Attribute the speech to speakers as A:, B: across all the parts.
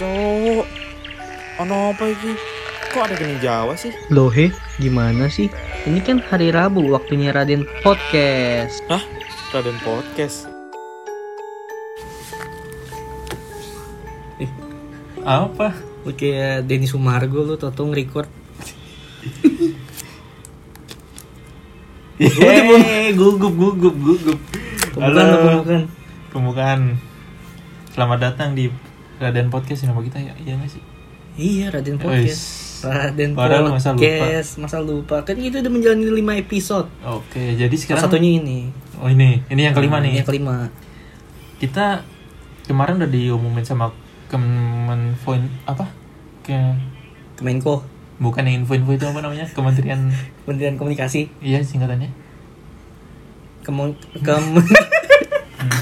A: Cuk. Ono apa iki? Kok ada geni Jawa sih?
B: Loh he, gimana sih? Ini kan hari Rabu, waktunya Raden Podcast.
A: Hah? Raden Podcast.
C: apa
B: Lu kayak ya, Denny Sumargo lu tau nge-record.
C: Yeay, gugup gugup gugup
B: Bukan, bukan, bukan.
C: pembukaan selamat datang di Raden Podcast nama kita ya iya nggak sih
B: Iya, Raden Podcast.
C: Wis.
B: Raden
C: Padahal masa lupa.
B: Podcast, masa lupa. Kan kita udah menjalani 5 episode.
C: oke jadi
B: Salah
C: sekarang
B: satunya ini.
C: oh ini ini yang kelima
B: Ini
C: nih
B: Yang kelima.
C: kita kemarin udah diumumin sama Kemenfoin apa ke
B: Kemenko,
C: bukan yang info info itu apa namanya Kementerian
B: Kementerian Komunikasi.
C: iya singkatannya
B: Kemon Kem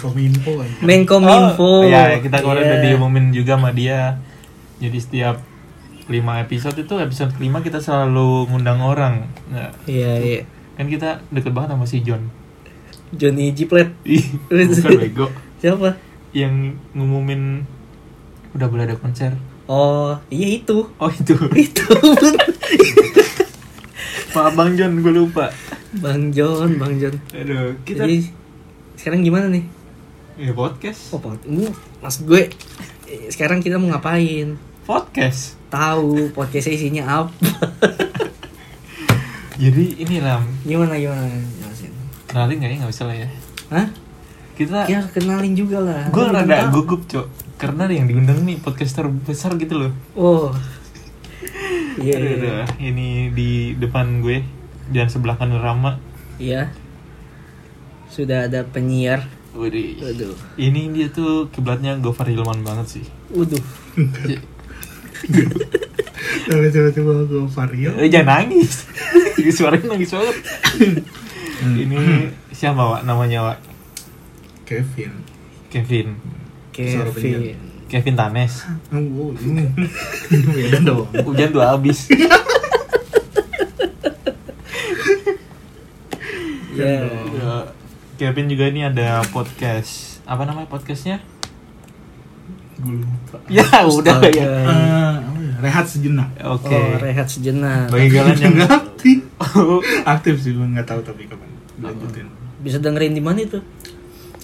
A: Kominfo
C: kan?
A: aja.
B: Menkominfo.
C: ya kita kemarin
B: Iya.
C: udah diumumin juga sama dia jadi setiap lima episode itu episode kelima kita selalu ngundang orang Nah,
B: Iya, iya.
C: kan kita deket banget sama si John
B: Johnny Jiplet.
C: Ih, bukan bego
B: Siapa?
C: yang ngumumin udah boleh ada konser
B: Oh, iya itu.
C: oh itu
B: Itu.
C: pak bang John gue lupa
B: Bang John, Bang John.
C: aduh kita
B: Jadi sekarang gimana nih?
C: ya podcast
B: Oh, pot- ini maksud gue eh, sekarang kita mau ngapain?
C: podcast
B: Tahu podcast isinya apa?
C: jadi ini lam
B: Gimana gimana? Jelasin.
C: kenalin nggak ya nggak usah lah ya
B: Hah?
C: kita
B: Ya kenalin juga lah.
C: gue
B: Lu belum
C: rada
B: tahu.
C: gugup cok karena yang diundang nih podcaster besar gitu loh
B: Oh. Iya.
C: Aduh,
B: iya,
C: aduh, ini di depan gue dan sebelah kanan Rama
B: Iya. Sudah ada penyiar.
C: Waduh.
B: Waduh.
C: ini dia tuh kiblatnya Gofar Hilman banget sih
B: Waduh.
D: Tapi tiba-tiba gue vario
C: Eh, jangan nangis. Suaranya nangis banget.
B: Hmm.
C: Ini siapa, Wak? Namanya, Wak?
D: Kevin
C: Kevin.
D: Suara penyiar.
B: Kevin.
C: Kevin Tanes.
D: Oh, wow, ini beda dong
C: Hujan dua habis.
B: Ya.
C: Ya, Kevin juga ini ada podcast. Apa namanya podcastnya?
D: Gue lupa
C: Ya, udah
B: Astaga.
C: ya.
D: Eh, apa ya? Rehat sejenak
C: Oke.
B: Oh, rehat sejenak.
C: Bagi kalian yang
D: Nggak aktif Aktif sih gue nggak tahu tapi kapan Lanjutin
B: Bisa dengerin di mana itu?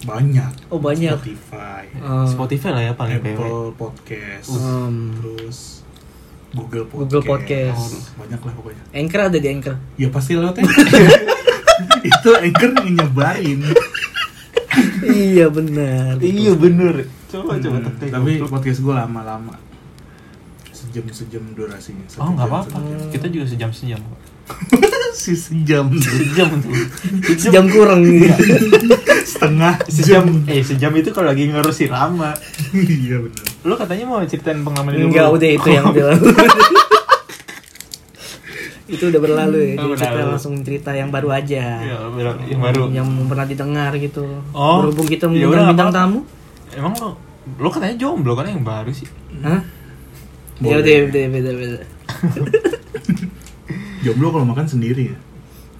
D: Banyak
B: Oh, banyak.
D: Spotify
B: Oh.
C: Spotify lah ya paling bebek.
D: Apple Podcast
B: Um,
D: Terus Google Podcast
B: Google Podcast.
D: Oh, Banyak lah pokoknya
B: Anchor ada di Anchor.
D: Ya pasti lewat Anchor. Itu Anchor yang nyebarin
B: iya benar.
C: Iya bener. Coba coba
D: Hmm,
C: tepuk.
D: Tapi podcast gue lama-lama Sejam-sejam durasinya
C: Oh
D: satu
C: nggak
D: jam,
C: apa-apa.
D: satu jam.
C: Kita juga sejam sejam. kok.
D: si sejam
C: Sejam tuh.
B: Sejam kurang.
D: setengah
C: Sejam. Eh sejam itu kalau lagi ngerusi Rama.
D: iya benar
C: Lu katanya mau ceritain pengalaman hidup
B: Enggak
C: lu.
B: udah itu yang bilang. itu udah berlalu ya. Jadi
C: Oh,
B: kita
C: berlalu.
B: langsung cerita yang baru
C: Ya,
B: aja.
C: bilang yang baru.
B: Yang pernah didengar gitu.
C: Oh.
B: Berhubung kita
C: Ya
B: mengundang
C: udah,
B: bintang
C: apa?
B: tamu.
C: Emang lo lo katanya jomblo kan yang baru sih.
B: Hah? Ya
D: Boleh.
B: udah, udah, beda, beda.
D: jomblo kalau makan sendiri ya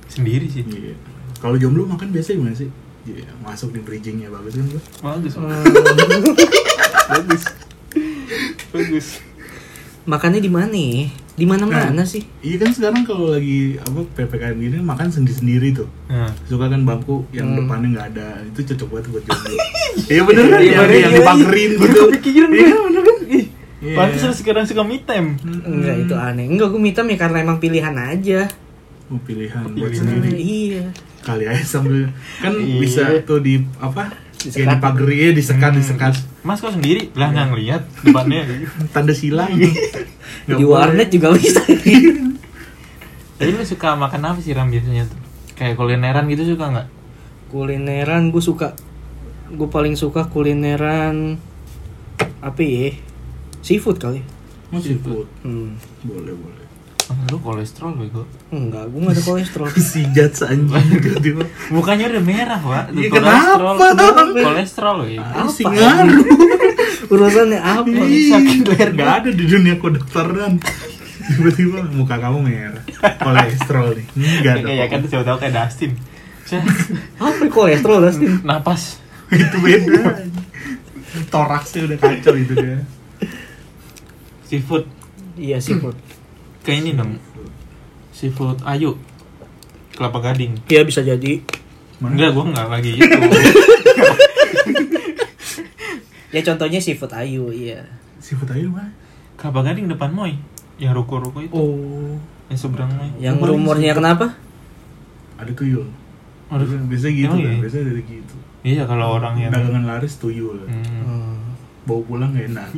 C: Sendiri sih.
B: Hmm.
D: iya kalau jomblo makan biasa gimana sih Iya, masuk di bridgingnya bagus kan gua
C: Bagus.
B: Hmm,
C: bagus. bagus.
B: makannya di mana? ya? Di mana-mana
D: Nah.
B: sih?
D: iya kan sekarang kalau lagi apa ppkm gini makan sendiri sendiri tuh
C: Nah.
D: suka kan bangku yang
B: Hmm.
D: depannya nggak ada itu cocok banget buat jomblo iya bener kan
C: Iya,
D: yang,
C: bener,
D: yang
C: iya,
D: dipakerin
C: iya.
D: gitu
C: Baru kepikiran gue.
D: iya bener kan
C: Ih,
D: Iya.
C: pantes lu sekarang suka me time.
D: Hmm.
B: Enggak, itu aneh. Enggak, gue mitam ya karena emang pilihan aja.
D: Oh, pilihan
C: Pilihan.
D: buat sendiri
B: Iya.
D: kali aja sambil kan
C: Iya.
D: bisa tuh di apa
B: Disekat.
D: ya di pagernya disekat
C: Hmm.
D: disekat
C: Mas kok sendiri? Lah nggak ngeliat depannya.
D: tanda silang Nggak
B: di
D: Ya boleh.
B: warnet juga bisa.
C: Jadi lu suka makan apa sih Ram biasanya tuh? Kayak kulineran gitu suka nggak?
B: kulineran gue suka gue paling suka kulineran apa ya seafood kali ya.
D: mau seafood
B: hmm.
D: boleh boleh
C: Ah, Lu kolesterol bego.
B: enggak gue gak ada kolesterol
D: si jats anjing tiba-tiba
C: Bukannya udah merah, Pak. Tuh,
D: Iya,
C: kolesterol.
D: kenapa?
C: Kolesterol ya.
D: Ah, si ngaruh Iya.
B: urusannya apa
D: Ih,
C: sakit leher
D: nggak ada di dunia kedokteran tiba-tiba muka kamu merah kolesterol nih enggak
C: Kayak
D: dong
C: ya kan siapa tahu kayak Dustin. Saya-
B: apa kolesterol Dustin
C: napas
D: gitu ya. itu beda toraksnya udah kacau itu dia
C: Seafood
B: Iya seafood.
C: kayak ini dong. Seafood ayu. Kelapa gading.
B: Iya bisa jadi.
D: Mana?
C: Enggak, gua enggak lagi itu.
B: Ya contohnya seafood ayu, iya.
D: Seafood aja mana?
C: Kelapa gading depan Moy. Yang ruko-ruko itu,
D: Oh,
C: yang seberang Moy.
B: Yang
D: Kemarin
B: rumornya
D: seafood.
B: kenapa?
D: ada tuyul.
C: Aduh,
D: Biasanya gitu
C: Emang
D: kan,
C: iya?
D: biasanya dari gitu.
C: Iya kalau orang yang
D: Dagangan laris tuyul.
C: Hmm.
D: Bawa pulang gak enak.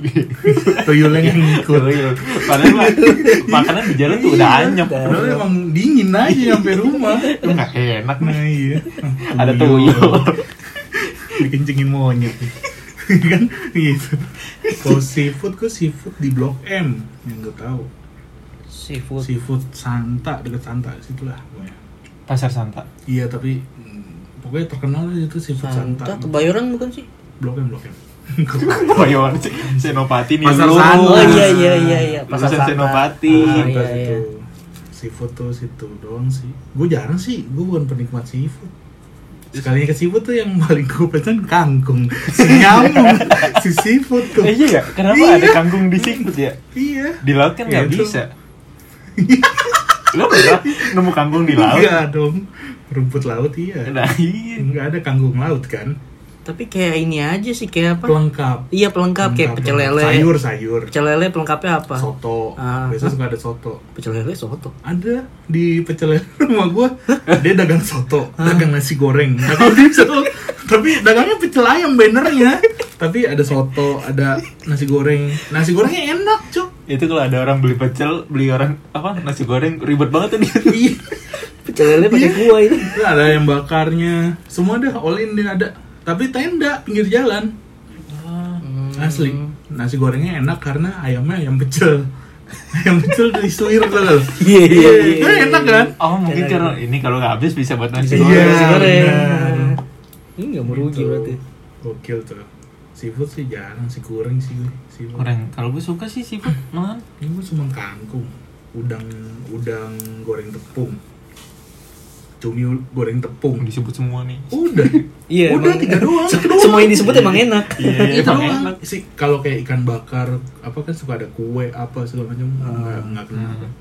D: Tuyulnya yang ngikut.
C: Padahal mah, makanan di jalan tuh
D: Iya,
C: udah anyep. Iya.
D: Padahal emang dingin aja sampai rumah.
C: Enggak enak nih.
D: Nah iya.
C: Ada tuyul.
D: Dikencengin monyet. kan gitu. Kalau seafood kok seafood di Blok M yang gue tahu.
B: Seafood.
D: Seafood Santa dekat Santa situlah. pokoknya.
C: Pasar Santa.
D: Iya tapi hmm, pokoknya terkenal lah itu seafood Santa.
B: Santa, kebayoran bukan sih?
D: Blok M Blok M.
C: Bayon ya, Senopati nih.
D: Pasar
C: lu.
D: Santa.
B: Oh iya iya iya iya.
C: Pasar
B: Santa.
C: Senopati.
B: Ah, iya,
D: Santa
B: iya.
D: situ. Seafood tuh situ doang sih. Gue jarang sih, gue bukan penikmat seafood. Sekalinya ke seafood tuh yang paling gue pesen kangkung, si nyamuk, si seafood tuh.
C: Eh, iya ya, kenapa
D: Iya.
C: ada kangkung di seafood ya?
D: Iya.
C: Di laut kan nggak
D: Iya, itu.
C: bisa. Lo pernah nemu kangkung di laut?
D: Enggak Iya dong. Rumput laut iya.
C: Nah, iya.
D: Enggak ada kangkung laut kan?
B: Tapi kayak ini aja sih kayak apa?
D: Pelengkap.
B: Iya pelengkap kayak
D: Pelengkap. ya.
B: pecel lele.
D: Sayur, sayur.
B: Pecel lele pelengkapnya apa?
D: Soto.
B: Ah.
D: Biasanya suka ada soto.
B: Pecel lele soto.
D: Ada di pecel lele rumah gua, dia dagang soto, dagang nasi goreng, dagang pecel. Tapi dagangnya pecel ayam bannernya. Tapi ada soto, ada nasi goreng. Nasi gorengnya enak, Cuk.
C: Itu kalau ada orang beli pecel, beli orang apa nasi goreng ribet banget tuh dia.
D: Iya.
B: Pecel lele pakai
D: Iya.
B: kuah itu.
D: ada yang bakarnya. Semua ada all in dia ada. Tapi tenda pinggir jalan. Hmm.
B: Hmm.
D: Asli, nasi gorengnya enak karena ayamnya ayam pecel. Ayam pecel dari suwir tuh loh.
B: Iya, iya, iya.
D: Kan enak kan?
C: Oh mungkin
B: Iya.
C: cara ini kalau nggak habis bisa buat nasi
B: Bisa
D: Iya,
B: goreng,
C: goreng.
B: nasi goreng.
D: benar.
B: Ini nggak merugi
D: Gitu.
B: berarti.
D: Gokil tuh. Seafood sih jarang sih goreng sih gue. Seafood.
C: Goreng. Kalau gue suka sih seafood malahan.
D: Ini gue cuma kangkung, udang udang goreng tepung. Cumi goreng tepung.
C: Disebut semua nih.
D: Udah.
B: Iya.
D: Udah
B: emang-
D: tiga doang.
B: Semua yang disebut emang enak.
C: Iya,
D: itu
C: emang
D: doang.
C: enak.
D: sih kalau kayak ikan bakar apa kan suka ada kue apa segala macam nggak nggak kenal
B: Ah.
C: Hmm.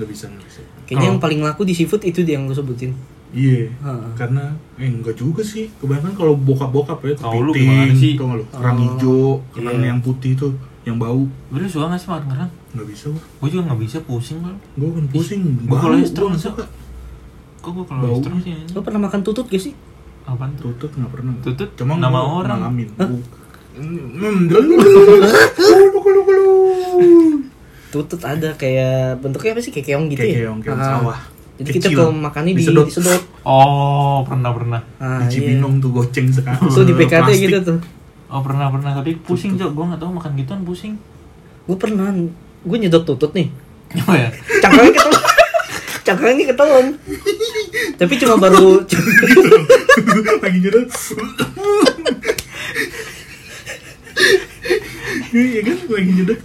D: nggak bisa nggak bisa
B: Kayaknya yang
D: Oh.
C: Kalau-
B: paling laku di seafood itu dia yang gue sebutin.
D: iya
B: Ha.
D: karena eh enggak juga sih kebanyakan kalau bokap bokap ya
C: Tahu lu gimana sih?
D: tau nggak lu kerang
B: Oh,
D: hijau kerang
B: iya.
D: yang putih tuh yang bau
C: Lu suka nggak sih makan kerang?
D: nggak bisa gua
C: Gue juga nggak bisa pusing bang.
D: gue kan pusing
C: Gua
D: bau
C: kolesterol,
D: gua nggak
C: Sok.
D: suka
C: Kok gue
D: Bau.
C: kalau terus sih?
B: Lo pernah makan tutut gak sih?
C: Apaan tuh?
D: tutut nggak pernah
C: Tutut
D: cuma
C: nama
D: gua
C: orang.
D: ngalamin Gua- Hmm, dulu. Dulu, dulu, dulu.
B: Tutut ada kayak bentuknya apa sih kayak keong gitu
D: Kayak
B: ya?
D: keong, keong
B: Ah.
D: sawah.
B: Jadi kita
D: Kecil.
B: kalau makannya di
D: Disedot.
B: disedot.
C: Oh pernah pernah.
B: Ah,
D: di Cibinong tuh goceng sekarang
B: Iya. Terus di PKT
D: Plastik.
B: gitu tuh.
C: Oh pernah pernah tapi pusing Jok, gue nggak tahu makan gituan pusing.
B: Gue pernah gue nyedot tutut nih.
C: Apa ya?
B: Cangkangnya ketelan. Cangkangnya ketelan. Tapi cuma baru
D: lagi gitu. nyedot Iya kan lagi nyedot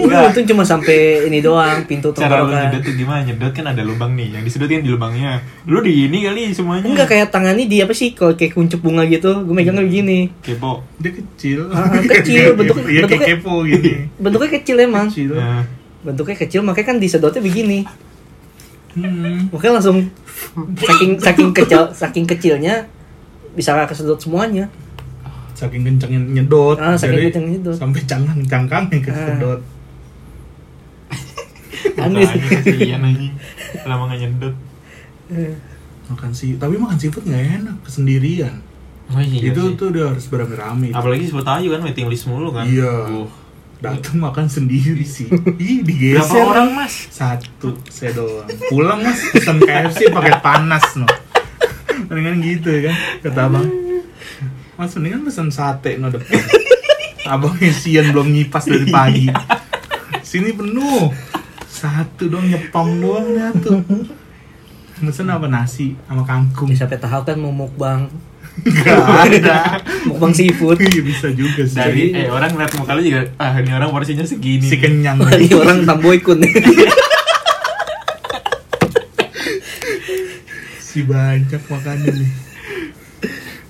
C: Enggak.
B: untung cuma sampai ini doang pintu
C: Cara lu nyedot
B: tenggorokan.
C: tuh gimana? Nyedot kan ada lubang nih, yang disedot kan di lubangnya. Lu di ini kali semuanya.
B: Enggak kayak tangannya dia apa sih kalau kayak kuncup bunga gitu. Gue megangnya begini.
C: Kepo.
D: dia kecil
B: Ah, kecil, bentuk-
D: Iya, kayak
B: bentuknya- Ah.
D: kepo gitu
B: Bentuknya kecil emang.
D: kecil
C: Nah,
B: Bentuknya kecil makanya kan disedotnya begini.
D: Hmm.
B: Makanya langsung saking saking kecil saking kecilnya bisa nggak kesedot semuanya.
D: saking kencangnya
C: Oh,
D: nyedot
B: Ah, saking
D: jadi
B: kencangnya nyedot. Ah.
D: sampai cangkang cangkangnya kesedot
B: Aneh
C: makanya
B: sih.
C: kasihan anjing. Lama nggak nyedot.
D: makan sih tapi makan seafood nggak enak kesendirian
C: Oh, iya
D: itu
C: sih.
D: tuh udah harus berame-rame
C: Apalagi sebut ayu kan waiting list mulu kan.
D: Iya.
C: Duh.
D: datang makan sendiri sih ih digeser
C: Berapa orang mas?
D: satu saya doang pulang mas pesan KFC pakai panas no mendingan gitu kan kata abang mas mendingan pesan sate no depan abang yang sian belum ngipas dari pagi sini penuh satu dong nyepong doang dah tuh pesan apa nasi sama kangkung
B: Sampai tahap kan mau mukbang,
D: nggak ada
B: mukbang seafood.
D: Iya, bisa juga sih
C: Dari eh orang ngeliat muka lu juga ah ini orang porsinya segini.
D: si kenyang
C: Iya.
B: Ini orang tamboy kun.
D: si banyak makannya nih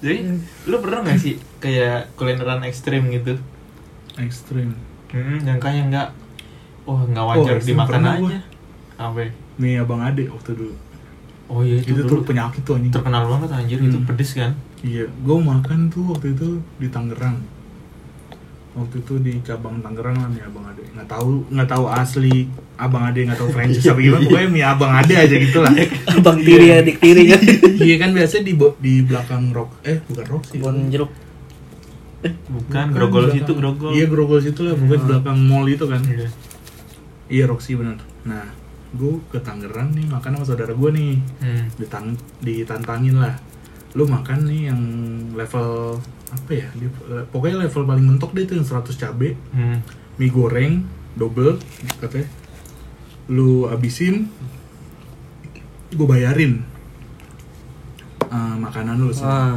C: Jadi lu pernah nggak sih kayak kulineran ekstrim gitu?
D: ekstrim
C: Hmm, yang kayak nggak, oh nggak wajar
D: Oh,
C: dimakan
D: pernah
C: aja.
D: gua.
C: Apa? ya?
D: Nih abang ade waktu dulu.
C: Oh iya itu,
D: Itu, tuh
C: dulu
D: penyakit tuh anjing.
C: terkenal banget anjir itu
D: Hmm.
C: pedes kan.
D: Iya, gue makan tuh waktu itu di Tangerang. Waktu itu di cabang Tangerang lah mie Abang Ade. Nggak tahu nggak tahu asli Abang Ade nggak tahu franchise apa gimana. Pokoknya mie Abang Ade aja gitu lah.
C: Iya.
B: Abang tiri adik tiri kan.
D: Iya kan biasanya di bo- di belakang rock eh bukan rock sih.
B: Bon jeruk.
C: Bukan, grogol
D: di belakang-
C: situ grogol.
D: Iya grogol situ lah, bukan di belakang mall itu kan.
C: Ah. Iya.
D: Iya Roxy benar. Nah, gue ke Tangerang nih makan sama saudara gue nih.
C: Hmm.
D: Ditang ditantangin lah. Lu makan nih yang level apa ya? Di- le- Pokoknya level paling mentok deh itu yang 100 cabe,
C: Hmm.
D: mie goreng double katanya. Lu abisin gue bayarin eh, makanan lu
B: Ah,
D: semua.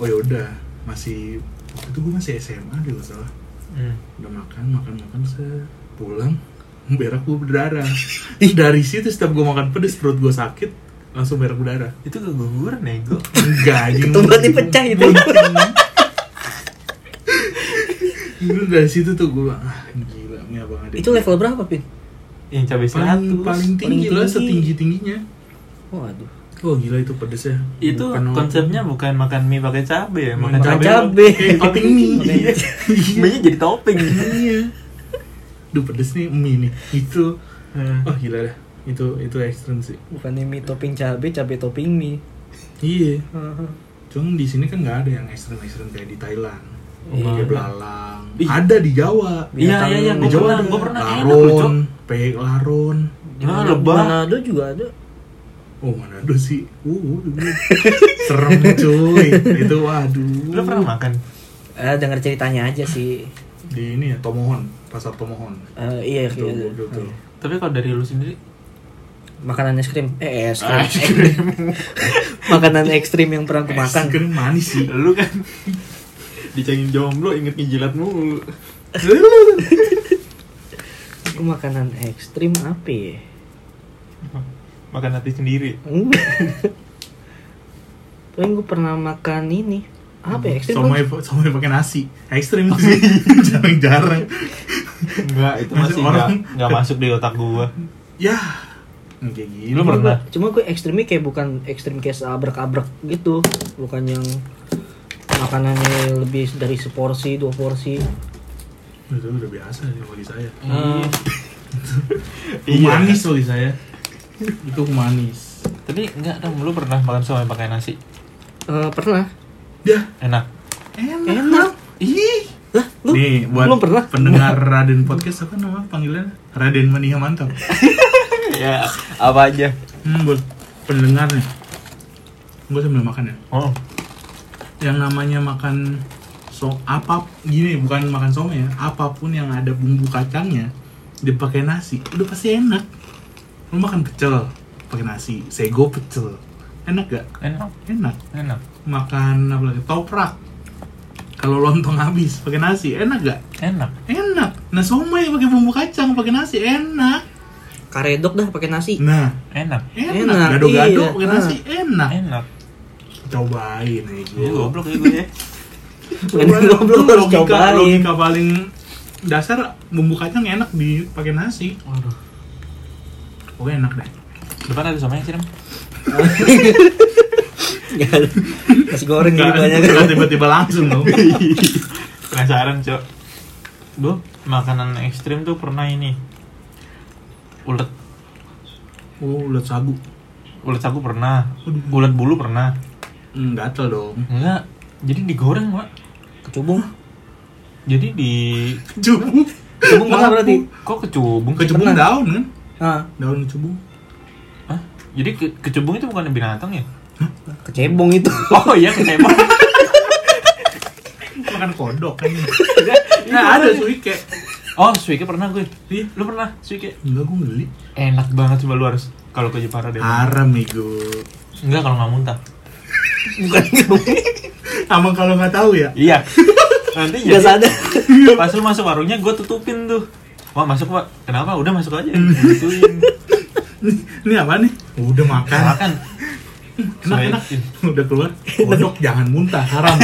D: Oh ya udah, masih waktu itu gue masih SMA deh nggak salah.
C: Hmm.
D: udah makan makan makan saya pulang berak gue berdarah Ih, dari situ setiap gue makan pedes perut gue sakit langsung berak berdarah
C: Itu keguguran nego.
D: enggak anjing
B: Ketumbatnya pecah itu.
D: Dulu dari situ tuh gue ah, gila nih abang Ade
B: itu level berapa, Pin?
C: Yang cabai
D: paling,
C: 100.
D: paling tinggi
B: Paling
D: lah
B: tinggi.
D: setinggi tingginya
B: Waduh.
D: oh gila itu pedes ya
C: itu
D: Bukan-
C: konsepnya bukan makan mie pakai cabai ya, makan,
D: Makan
C: cabai.
B: cabai.
D: kayak topping mie
C: Makanya- Mie-nya jadi topping.
D: iya duh pedes nih mie nih itu
C: Hmm.
D: oh gila dah itu itu ekstrem sih
B: Bukannya mie topping cabe, cabe topping mie.
D: iya
B: Heeh.
D: Cuman di sini kan nggak ada yang ekstrem-ekstrem kayak di Thailand.
C: Iya.
D: Kayak belalang.
C: Ih.
D: Ada di Jawa.
C: Iya
B: Binatang
C: iya iya,
D: di
C: gue
D: Jawa
C: pernah,
D: ada.
C: gue pernah enak loh, Cok.
D: laron, peyek laron.
C: Gimana
B: Mana-
C: lebah?
B: Manado juga ada.
D: Oh mana ada sih? Uh, uh, uh. serem cuy. Itu waduh.
C: Lu pernah makan?
B: Eh, dengar ceritanya aja sih.
D: Di ini ya Tomohon, pasar Tomohon.
B: Eh, iya,
D: Itu,
B: iya.
D: itu, itu.
C: Tapi kalau dari lu sendiri,
B: Makanan es krim. Eh, es krim.
C: Es krim.
B: Makanan ekstrim yang pernah aku makan.
D: Es krim manis sih.
C: lu kan dicengin jomblo inget ngejilat mulu.
B: Aku makanan ekstrim apa ya?
C: Makan hati sendiri.
B: Enggak. Paling gue pernah makan ini. Apa ya? Ekstrim
D: Somai,
B: kan?
D: somai pakai nasi. Ekstrim sih. Jarang-jarang.
C: Enggak, itu
D: Masa
C: masih
D: orang-
C: enggak enggak masuk di otak gua.
D: Ya. Kayak gini.
C: Lu pernah?
B: Cuma gue ekstrimnya kayak bukan ekstrim kayak seabrek-abrek gitu. Bukan yang makanannya lebih dari seporsi, dua porsi.
D: Itu udah biasa sih bagi saya.
B: Eh,
D: Humanis bagi saya. Itu humanis.
C: Tapi enggak dong, lu pernah makan somai pakai nasi?
B: eh, pernah.
D: Ya,
C: Enak.
D: enak.
B: Iya. Enak.
C: Ih,
B: Lah, lu
D: Nih, buat
B: belum pernah?
D: pendengar Raden Podcast apa nama panggilan? Raden Mania Mantap.
C: ya apa aja.
D: Hmm, buat pendengar nih. Gue sambil makan ya.
C: Oh,
D: Yang namanya makan so apa gini bukan makan somai ya apapun yang ada bumbu kacangnya dipakai nasi udah pasti enak lu makan pecel pakai nasi sego pecel enak gak
C: enak,
D: enak
C: enak.
D: makan apa lagi toprak kalau lontong habis pakai nasi enak gak
C: Enak.
D: enak nah somai pakai bumbu kacang pakai nasi enak
B: Karedok dah pakai nasi.
D: nah
C: Enak.
D: enak,
B: Enak,
D: gado-gado
B: iya.
D: pakai nasi enak
C: Enak.
D: cobain
C: Ini
D: aja
C: goblok ya gue ya.
B: Ini Iya, goblok harus
D: logika
B: cobain.
D: logika paling dasar bumbu kacang enak dipakai nasi
C: Waduh.
D: pokoknya enak deh
C: Depan ada somai sih, Dem?
B: Ya, nasi goreng
D: Nggak-
B: lebih banyak. kan? Iya.
D: nggak tiba-tiba langsung dong
C: Penasaran, Cok. Gua makanan ekstrim tuh pernah ini. Ulet.
D: oh ulat sagu
C: Ulet sagu pernah. Ulet bulu pernah.
D: hmm, gatel dong
C: Enggak. Jadi digoreng, Mak.
B: Kecubung.
C: Jadi di
D: cubung
B: Kecubung pernah berarti.
C: kok kecubung?
D: kecubung
B: Pernah.
D: daun kan
B: Ah,
D: daun kecubung
C: Hah? Jadi ke- kecubung itu bukan binatang ya?
B: kecebong itu.
C: Oh iya, kecebong.
D: makan kodok kan
B: Iya.
D: nah ada suike
C: oh, suike pernah gue.
D: Iya.
C: Lu pernah suike?
D: enggak gue beli
C: Enak banget coba lu harus Ah. kalau ke Jepara deh.
D: haram ego
C: Enggak kalau nggak muntah.
B: Bukan kecebong.
D: Iya. Abang kalau nggak tahu ya.
C: Iya. Nanti
B: Enggak
C: jadi-
B: sadar.
C: pas lu masuk warungnya gue tutupin tuh wah masuk pak kenapa udah masuk aja gituin
D: Nih, Ini apa nih? Udah makan.
C: makan
D: Enak enak.
C: Soalnya-
D: Udah keluar. Kodok jangan muntah, haram.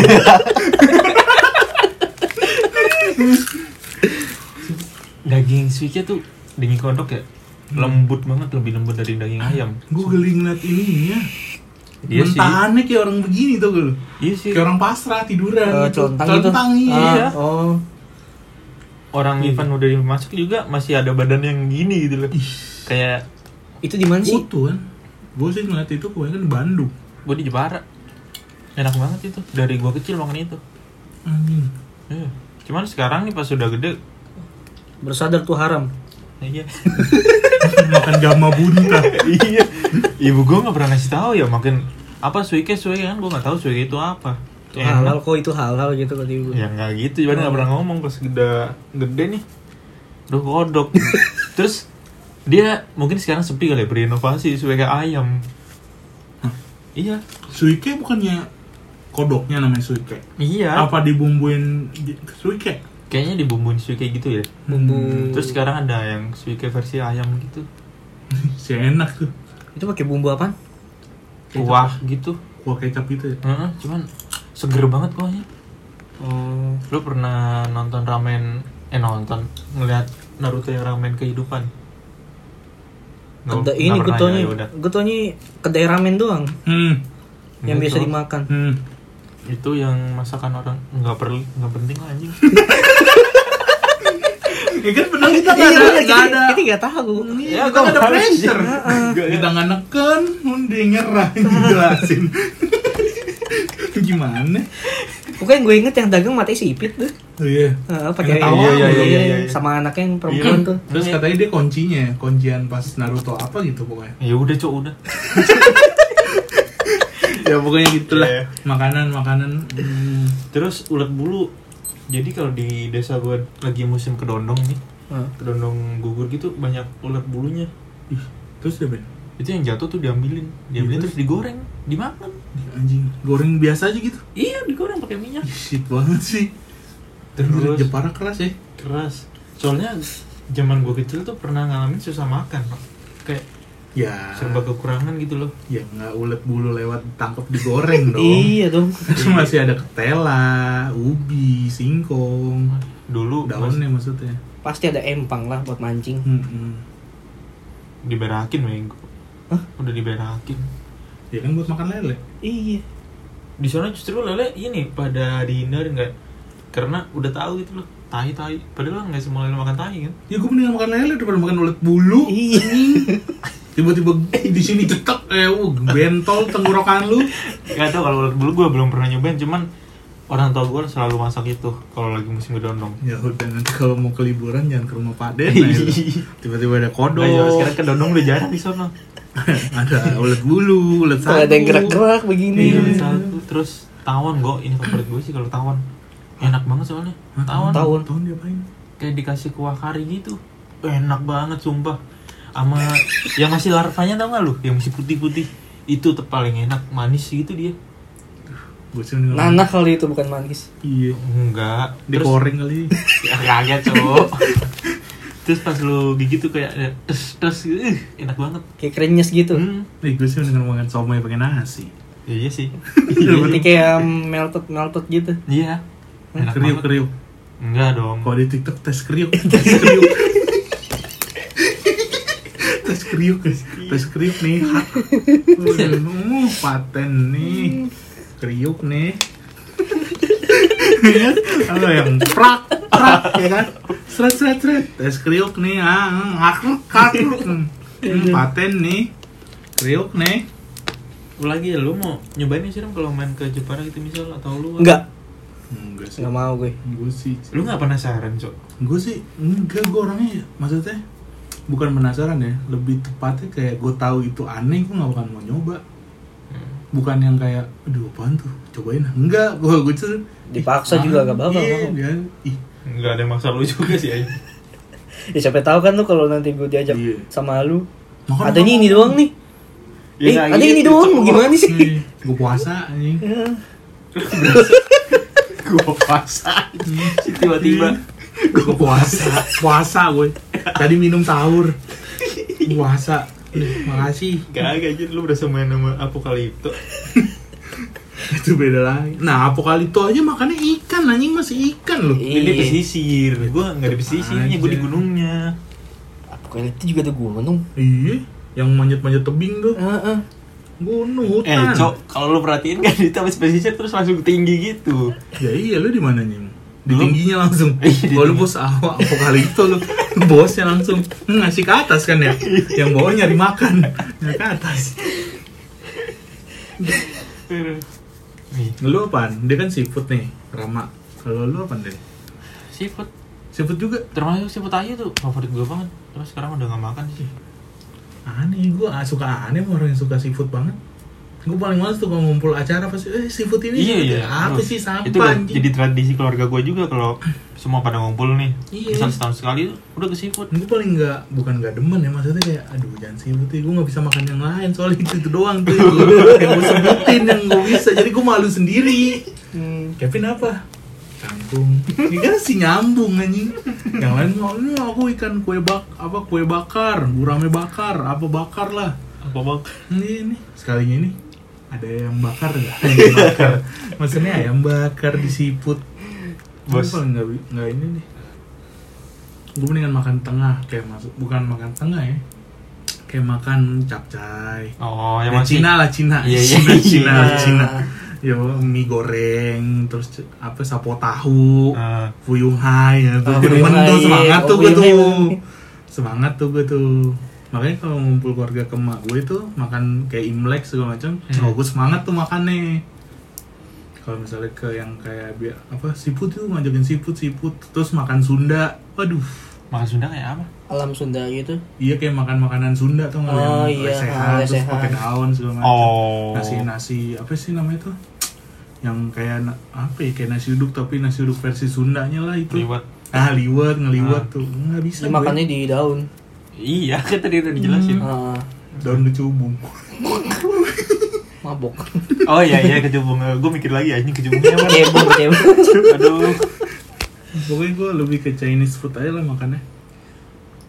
C: daging suinya tuh daging kodok ya
B: Hmm.
C: lembut banget lebih lembut dari daging
B: Ah.
C: ayam
D: Gue geli ngeliat ininya.
C: Iya sih.
D: Mentahannya kayak orang begini tuh gue.
C: iya sih
D: Kayak orang pasrah tiduran.
B: Eh,
D: gitu.
B: celentang,
D: Celentang,
B: gitu.
D: iya.
B: Ah, oh.
C: orang
B: Iya.
C: Ivan udah masuk juga masih ada badan yang gini gitu loh kayak
B: Itu di mana sih?
D: Kutu kan. Gue sih ngeliat itu gue kan di Bandung.
C: gue di Jepara enak banget itu dari gua kecil makan itu
D: Anjing.
C: Iya. cuman sekarang nih pas udah gede
B: Bersadar tuh haram.
C: iya
D: Makan gama bunta.
C: iya ibu gua nggak pernah ngasih tahu ya makin apa suike suike kan gua nggak tahu suike itu apa
B: Itu
D: Iya.
C: Enak.
B: halal kok, itu halal gitu kata ibu.
C: ya nggak gitu cuman nggak pernah ngomong pas gede gede nih udah kodok terus dia mungkin sekarang sepi kali ya, berinovasi sebagai ayam iya
D: Suike bukannya kodoknya namanya suike.
C: iya
D: Apa dibumbuin di- suike?
C: kayaknya dibumbuin suike gitu ya
B: Bumbu.
C: terus sekarang ada yang suike versi ayam gitu
D: Hmm, Si enak tuh.
B: Itu pakai bumbu apa?
C: kuah gitu
D: Kuah kecap gitu ya.
C: Heeh, cuman seger banget kuahnya
B: Oh,
C: lu pernah nonton ramen eh nonton ngeliat Naruto yang ramen kehidupan Nggak-
B: kedai
C: nggak
B: ini
C: pernah ya,
B: gutonya.
C: ya udah.
B: Gutonya kedai ramen doang
D: Hmm.
B: yang biasa
C: Gitu.
B: dimakan.
D: Hmm.
C: itu yang masakan orang nggak perlu nggak penting lah anjing
D: Ya kan benar kita nggak
B: Iya,
D: ada,
B: kita-
D: nggak ada.
B: Kita nggak tahu. Ya,
C: Ya,
D: Iya,
C: kan
D: kita nggak ada pressure.
C: Ah,
D: Kita nggak neken, dia nyerah jelasin. Gimana?
B: Pokoknya yang gue inget yang dagang matanya sipit tuh.
D: Oh iya.
B: Heeh, pakai
D: Yang ketawa.
B: Iya,
C: Iya, iya, iya, iya.
B: sama anaknya yang perempuan tuh.
D: Terus katanya dia kuncinya, kuncian pas Naruto apa gitu pokoknya.
C: ya udah cok udah
D: Ya pokoknya gitulah.
C: Iya.
D: Makanan, makanan. Hmm.
C: terus ulat bulu jadi kalau di desa gua lagi musim kedondong nih
B: Heeh.
C: kedondong gugur gitu banyak ulat bulunya
D: Ih, terus ya? deh Ben.
C: itu yang jatuh tuh diambilin diambilin
D: Iya,
C: terus digoreng dimakan
D: Anjing, goreng biasa aja gitu.
C: iya digoreng pakai minyak
D: Ih, Shit banget sih. Terus
C: Terus-
D: Jepara keras ya.
C: keras soalnya zaman gua kecil tuh pernah ngalamin susah makan Pak. kayak
D: Ya.
C: serba kekurangan gitu loh
D: Ya nggak ulet bulu lewat tangkap digoreng dong.
B: Iya dong.
D: Terus masih ada ketela, ubi, singkong,
C: dulu mas,
D: daunnya maksudnya.
B: Pasti ada empang lah buat mancing.
D: Mm-mm.
C: diberakin minggu udah diberakin
D: Ya kan buat makan lele.
B: Iya.
C: di sana justru lele ini pada dihindari nggak karena udah tahu gitu loh tai tai padahal nggak semua lele makan tai kan
D: Ya gue mendingan makan lele daripada makan ulet bulu.
B: Iya.
D: Tiba-tiba di sini cetek, eh, uh, bentol tenggorokan lu.
C: nggak tahu kalau ulat bulu gue belum pernah nyobain cuman orang tua gue selalu masak itu kalau lagi musim gedondong
D: Ya udah nanti kalau mau ke liburan jangan ke rumah Pak Den. ayo. Tiba-tiba ada kodok,
C: Nah, ya, sekarang kedondong udah jarang di sana
D: ada ulet bulu, ulet sagu.
B: Kalau ada yang gerak-gerak begini.
C: Iya, satu. Terus tawon kok ini favorit gue sih kalau tawon. Enak banget soalnya.
D: Hah,
C: Tawon.
B: Tawon.
D: Tahun diapain?
C: Kayak dikasih kuah kari gitu. Enak banget sumpah. Sama yang masih larvanya tau gak lu? Yang masih putih-putih. Itu tuh paling enak, manis gitu dia.
D: Gue sih mendingan-
B: Nanah kali itu bukan manggis.
D: Iya.
C: Enggak.
D: Di koreng kali.
C: ya, kaget, Cok. Terus pas lu gigit tuh kayak ada tes tes gitu. Ih, enak banget.
B: Kayak krenyes gitu.
C: Hmm.
D: Nih gue sih mendingan makan somai pakai nasi.
C: Iya sih.
B: Ini kayak melted melted gitu.
C: Iya. Enak
D: kriuk
C: banget.
D: kriuk.
C: Enggak dong.
D: Kalau di TikTok tes kriuk, tes kriuk. tes kriuk, guys. tes kriuk nih. Uh, paten nih. Kriuk nih. Iya kan? Ada yang prak, prak, ya kan? Seret, seret, seret. Tes kriuk nih, ah, ngakruk, ngakruk. Hmm, paten nih. Kriuk nih.
C: Lu lagi ya, lu mau nyobain nih sih kalau main ke Jepara gitu misal atau lu
B: Enggak,
D: Enggak sih.
B: enggak mau gue.
D: Gue sih
C: lu nggak penasaran cok
D: gue sih enggak gue orangnya maksudnya bukan penasaran ya lebih tepatnya kayak gue tahu itu aneh gue nggak akan mau nyoba
B: Hmm.
D: bukan yang kayak aduh apaan tuh cobain enggak gue gue tuh
B: Dipaksa juga gak apa-apa.
D: iya,
B: mau.
D: kan? Ih,
C: nggak ada maksa lu juga sih ayo
B: Ya siapa tahu kan lu kalau nanti gue diajak
D: Iya.
B: sama lu.
D: makan
B: Adanya ini doang nih. eh,
C: Ya,
B: ada ini
C: gitu,
B: doang mau gimana sih?
D: gue puasa anjing
B: Hmm.
C: gua paksa Hmm, tiba-tiba
D: gue puasa puasa gue tadi minum sahur puasa Ih, makasih
C: gitu, gak aja lu berasa main sama apokalipto
D: itu beda lagi nah apokalipto aja makannya ikan anjing masih ikan loh
C: Ini di
B: Iya.
C: pesisir, gue nggak di pesisirnya, gue di
D: aja.
C: gunungnya.
B: Pokoknya itu juga tuh gunung.
D: iya yang manjat-manjat tebing tuh
B: Heeh.
D: gunung
C: Eh,
D: hutan
C: cok, kalau lu perhatiin kan itu habis pesisir terus langsung tinggi gitu.
D: ya iya lu di mananya Im? di
C: Lu?
D: tingginya langsung
C: Iya, di
D: kalau lu
C: tinggi.
D: bos awak apokalipto lu bosnya langsung hmm, ngasih ke atas kan ya
C: Iya.
D: yang bawah nyari makan nyari ke atas
C: Nih,
D: lu apaan dia kan seafood nih rama kalau lu apaan deh
C: seafood
D: seafood juga
C: termasuk seafood ayu tuh favorit gue banget. Terus sekarang udah nggak makan sih.
D: aneh gua ah, suka aneh sama orang yang suka seafood banget gua paling males tuh kalau ngumpul acara pasti eh seafood ini
C: iya
D: seafood
C: iya.
D: ini. apa
C: Terus,
D: sih sampah
C: Itu udah
D: anjing.
C: jadi tradisi keluarga gue juga kalau semua pada ngumpul nih.
D: Iya.
C: Misal setahun sekali udah ke seafood.
D: gue paling nggak bukan nggak demen ya maksudnya kayak aduh jangan seafood ya gue nggak bisa makan yang lain soalnya itu, itu doang tuh yang gua- yang gue sebutin yang gue bisa jadi gue malu sendiri
B: hmm.
D: Kevin apa kangkung ini kan si nyambung anjing yang lain mau "Ini aku ikan kue bak apa kue bakar gurame bakar apa bakar lah
C: Apa bang?
D: ini ini sekalinya ini ada yang bakar nggak ayam bakar maksudnya ayam bakar disiput
C: Bos.
D: bos paling nggak bi- nggak ini nih gue mendingan makan tengah kayak masuk bukan makan tengah ya kayak makan capcay
C: Oh, yang
D: Ya,
C: masih.
D: Cina lah Cina
C: Iya, iya.
D: Cina Cina
B: Nah,
C: Iya.
D: Nah, Cina Yo, mie goreng terus c- apa sapo tahu
C: Ah,
D: Fuyung Hai ya tuh
B: Oh,
D: Gue demen
B: Fuyung
D: tuh
B: Hai.
D: semangat
B: Oh,
D: tuh gue
B: Fuyung
D: tuh
B: Hai.
D: semangat tuh gue tuh makanya kalau ngumpul keluarga ke emak gue tuh makan kayak imlek segala macam
B: Iya.
C: Hmm.
D: oh gue semangat tuh makannya kalau misalnya ke yang kayak bi- apa siput tuh ngajakin siput siput terus makan Sunda waduh
C: makan Sunda kayak apa?
B: Alam Sunda gitu.
D: iya kayak makan makanan Sunda tuh nggak
B: Oh,
D: yang
B: iya,
D: lesehan, terus
B: lesehan.
D: pakai daun segala macam
C: Oh.
D: nasi nasi apa sih namanya tuh yang kayak na- apa ya kayak nasi uduk tapi nasi uduk versi Sundanya lah itu
C: Liwat.
D: Ah, liwat, ngeliwat tuh. Nggak bisa.
B: Dia
D: gue.
B: makannya di daun.
C: Iya, kan tadi udah dijelasin.
B: Ah,
D: daun kecubung.
B: mabok.
C: Oh iya iya kecubung. Gue mikir lagi anjing kecubungnya apa?
B: Cebong, cebong.
C: Aduh.
D: Pokoknya gue lebih ke Chinese food aja lah makannya.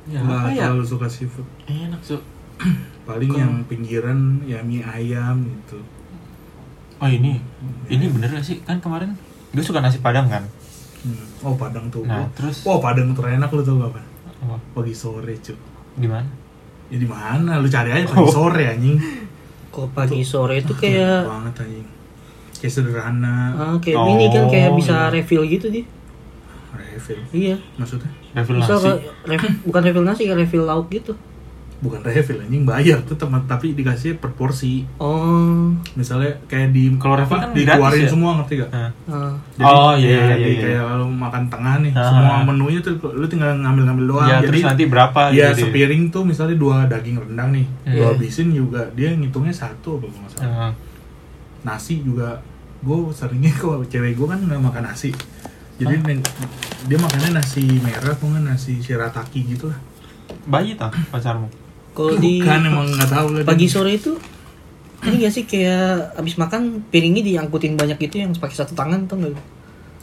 C: Ya,
D: Nggak
C: apa ya?
D: terlalu suka seafood.
C: Enak, Cuk.
D: Paling
C: Kok-
D: yang pinggiran ya mie ayam gitu.
C: Oh ini, ini bener gak sih? Kan kemarin gue suka nasi padang kan?
D: Hmm. Oh, Padang tuh.
C: Nah,
D: Wah,
C: terus-
D: Wah, Padang terenak lu tau kapan?
C: Apa?
D: Pagi sore, cuy.
C: Di mana?
D: Ya di mana? Lu cari aja pagi
C: Oh. Eh.
D: sore anjing.
B: Kok pagi sore itu
D: Enak
B: kayak
D: banget anjing. Kayak sederhana,
B: ah, kayak ini kan
C: Oh,
B: kayak bisa
C: iya.
B: refill gitu dia.
D: refill.
B: Iya.
D: Maksudnya
C: Refill
B: Bisa
C: nasi.
B: ke, ref- bukan refill nasi, kayak refill lauk gitu.
D: bukan refill anjing bayar tuh teman tapi dikasih per porsi
B: Oh.
D: misalnya kayak di
C: Kalau refill kan
D: apa,
C: gratis
D: dikeluarin
C: ya?
D: semua ngerti gak?
C: Nah.
B: ah.
C: Oh iya
D: ya,
C: iya
D: di
C: iya. iya.
D: kayak kalau makan tengah nih
C: Ah.
D: semua menunya tuh lu tinggal ngambil-ngambil doang
C: Ya,
D: jadi
C: terus nanti berapa
D: ya
C: gitu.
D: sepiring tuh misalnya dua daging rendang nih
C: Iya.
D: gua habisin juga dia ngitungnya satu apa nggak salah
C: Nah,
D: nasi juga gue seringnya kalau cewek gue kan nggak makan nasi jadi neng- dia makannya nasi merah tuh kan nasi shirataki gitu lah
C: bayi tah pacarmu? Oh,
B: Kalau di
D: bukan emang nggak tahu lah dia.
B: pagi sore itu ini gak sih kayak abis makan piringnya diangkutin banyak gitu yang pakai satu tangan tuh nggak?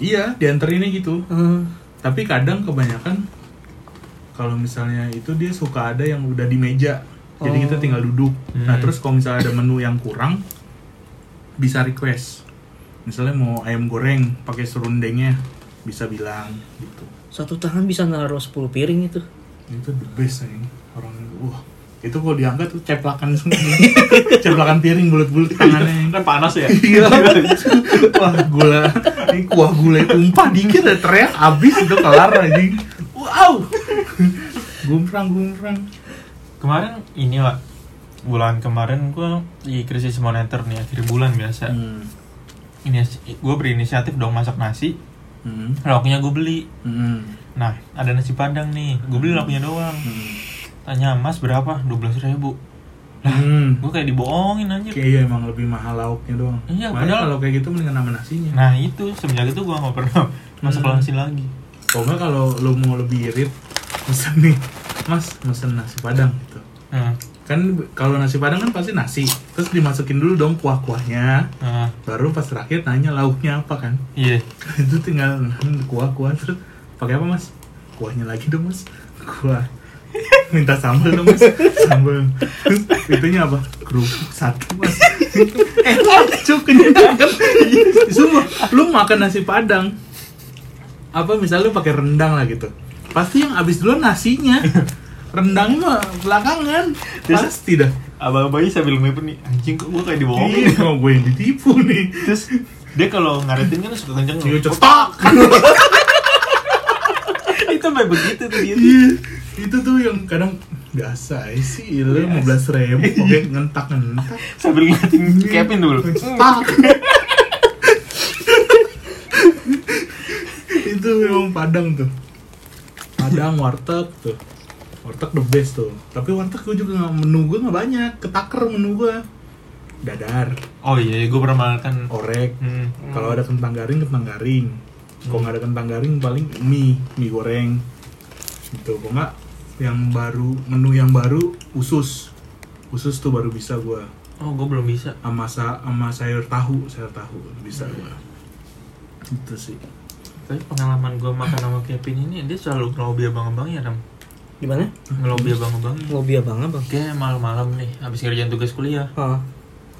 D: iya dianterinnya gitu
B: Ah,
D: tapi kadang kebanyakan kalau misalnya itu dia suka ada yang udah di meja jadi
B: Oh.
D: kita tinggal duduk nah
C: Hmm.
D: terus kalau misalnya ada menu yang kurang bisa request misalnya mau ayam goreng pakai serundengnya bisa bilang gitu
B: satu tangan bisa naruh 10 piring itu.
D: itu the best anjing orang wah itu kalau diangkat tuh ceplakan semua ceplakan piring bulat-bulat tangannya
C: Kan panas ya.
D: Iya, wah gula, ini kuah gula tumpah dikit ada teriak abis itu kelar anjing. Wow, gumprang gumprang.
C: Kemarin ini lah bulan kemarin gua di krisis moneter nih akhir bulan biasa.
D: Hmm.
C: Ini gue berinisiatif dong masak nasi.
D: Hmm.
C: Lauknya gue beli.
D: Hmm.
C: Nah, ada nasi padang nih. Gue beli lauknya doang.
D: Hmm.
C: Tanya Mas berapa? 12.000 ribu.
D: Hmm.
C: Gue kayak dibohongin anjir.
D: Kayak iya emang lebih mahal lauknya doang.
C: Iya,
D: Makanya
C: padahal-
D: kalau kayak gitu mendingan nama nasinya.
C: Nah itu semenjak itu gua nggak pernah masuk
D: Hmm.
C: nasi lagi.
D: Kalau nggak kalau lo mau lebih irit, pesen nih, mas pesen nasi padang gitu.
C: Nah,
D: Kan kalau nasi padang kan pasti nasi, terus dimasukin dulu dong kuah-kuahnya,
C: nah,
D: baru pas terakhir nanya lauknya apa kan.
C: iya.
D: itu tinggal kuah kuah terus pakai apa mas kuahnya lagi dong mas kuah minta sambal dong mas sambal terus itunya apa kerupuk satu mas eh cukup kenyang kan? Sumpah, lu makan nasi padang apa misalnya lu pakai rendang lah gitu pasti yang habis dulu nasinya rendang mah belakangan
C: Terus-
D: pasti dah
C: abang-abangnya sambil ngeliat nih anjing kok gue kayak
D: Iya,
C: dibohongin
D: mau gue yang ditipu nih
C: terus dia kalau ngaretin kan suka kenceng
D: Iya, cetak.
C: itu kayak begitu tuh dia tuh.
D: Iya, itu tuh yang kadang biasa aja sih lu lima belas ribu oke ngentak ngentak
C: sambil ngeliatin Kevin dulu
D: cetak itu memang padang tuh padang warteg tuh warteg the best tuh tapi warteg gue juga nggak menu gue nggak banyak ketaker menu gue dadar
C: oh iya gue pernah makan
D: orek
C: hmm.
D: kalau ada kentang garing kentang garing kalau nggak ada kentang garing paling mie mie goreng gitu kalau nggak yang baru menu yang baru usus usus tuh baru bisa gua
C: oh gue belum bisa
D: sama sa sama sayur tahu sayur tahu bisa gua itu sih
C: tapi pengalaman gue makan sama Kevin ini dia selalu ngelobi abang-abangnya Ram
B: Gimana?
C: ngelobi abang-abangnya
B: Lobby abang abang.
C: Iya. Oke, malam-malam nih, habis ngerjain tugas kuliah
B: Oh,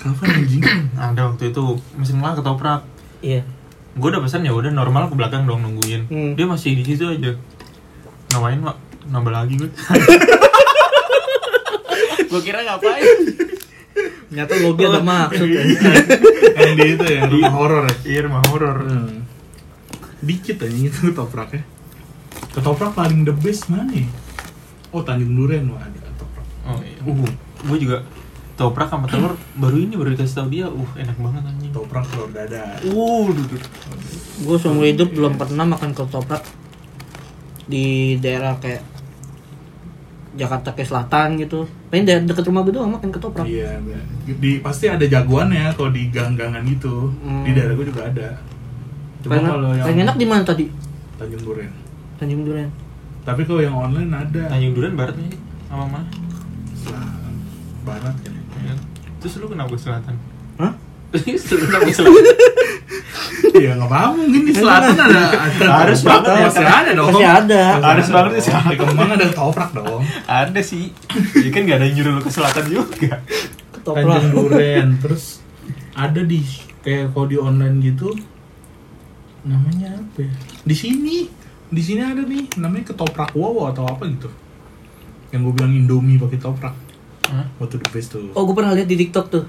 D: kapan anjing
C: Ada waktu itu, mesin lah ketoprak
B: iya.
C: Gue udah pesan ya udah normal ke belakang dong nungguin
B: Hmm.
C: Dia masih di situ aja Ngapain, Mak? Nambah lagi gue Gue kira ngapain
B: Ternyata lobby
D: Oh.
B: ada maksud. ya.
D: yang di itu ya rumah horor ya
C: Iya, rumah horor
D: Hmm. dikit aja itu ketopraknya ketoprak paling the best mana ya? oh Tanjung Duren wah ada ketoprak
C: Oh iya Uh, gue juga toprak sama telur baru ini baru dikasih tau dia Uh, enak banget anjing
D: ketoprak telur dadar
C: Uh, duh, duh.
B: Gue seumur hidup belum pernah makan ketoprak di daerah kayak Jakarta ke selatan gitu. Pengen daerah deket rumah gue doang makan ketoprak.
D: Iya, di pasti ada jagoannya kalau di gang-gangan gitu.
B: Hmm.
D: Di daerah gue juga ada. Cuma
B: Paling,
D: kalau yang
B: paling enak di mana tadi?
D: Tanjung Duren.
B: Tanjung Duren.
D: Tapi kalau yang online ada.
C: Tanjung Duren barat nih sama mana?
D: Selatan, barat kan.
C: Ya. Terus lu kenapa ke selatan?
B: Hah?
C: Terus lu kenapa ke selatan?
D: Iya nggak apa-apa mungkin di selatan ada. ada
C: Harus banget ya.
D: Masih ada dong.
B: Masih ada.
C: Harus banget di
D: sih.
C: selatan.
D: Di Kemang ada ketoprak dong.
C: Ada sih. Ya kan gak ada yang nyuruh lu ke selatan juga.
B: Ketoprak.
D: Tanjung Duren. Terus ada di kayak kalau di online gitu namanya apa ya? Di sini, di sini ada nih namanya ketoprak wowo atau apa gitu. Yang gue bilang Indomie pakai toprak.
C: Hah?
D: Waktu the best tuh.
B: Oh, gue pernah lihat di TikTok tuh.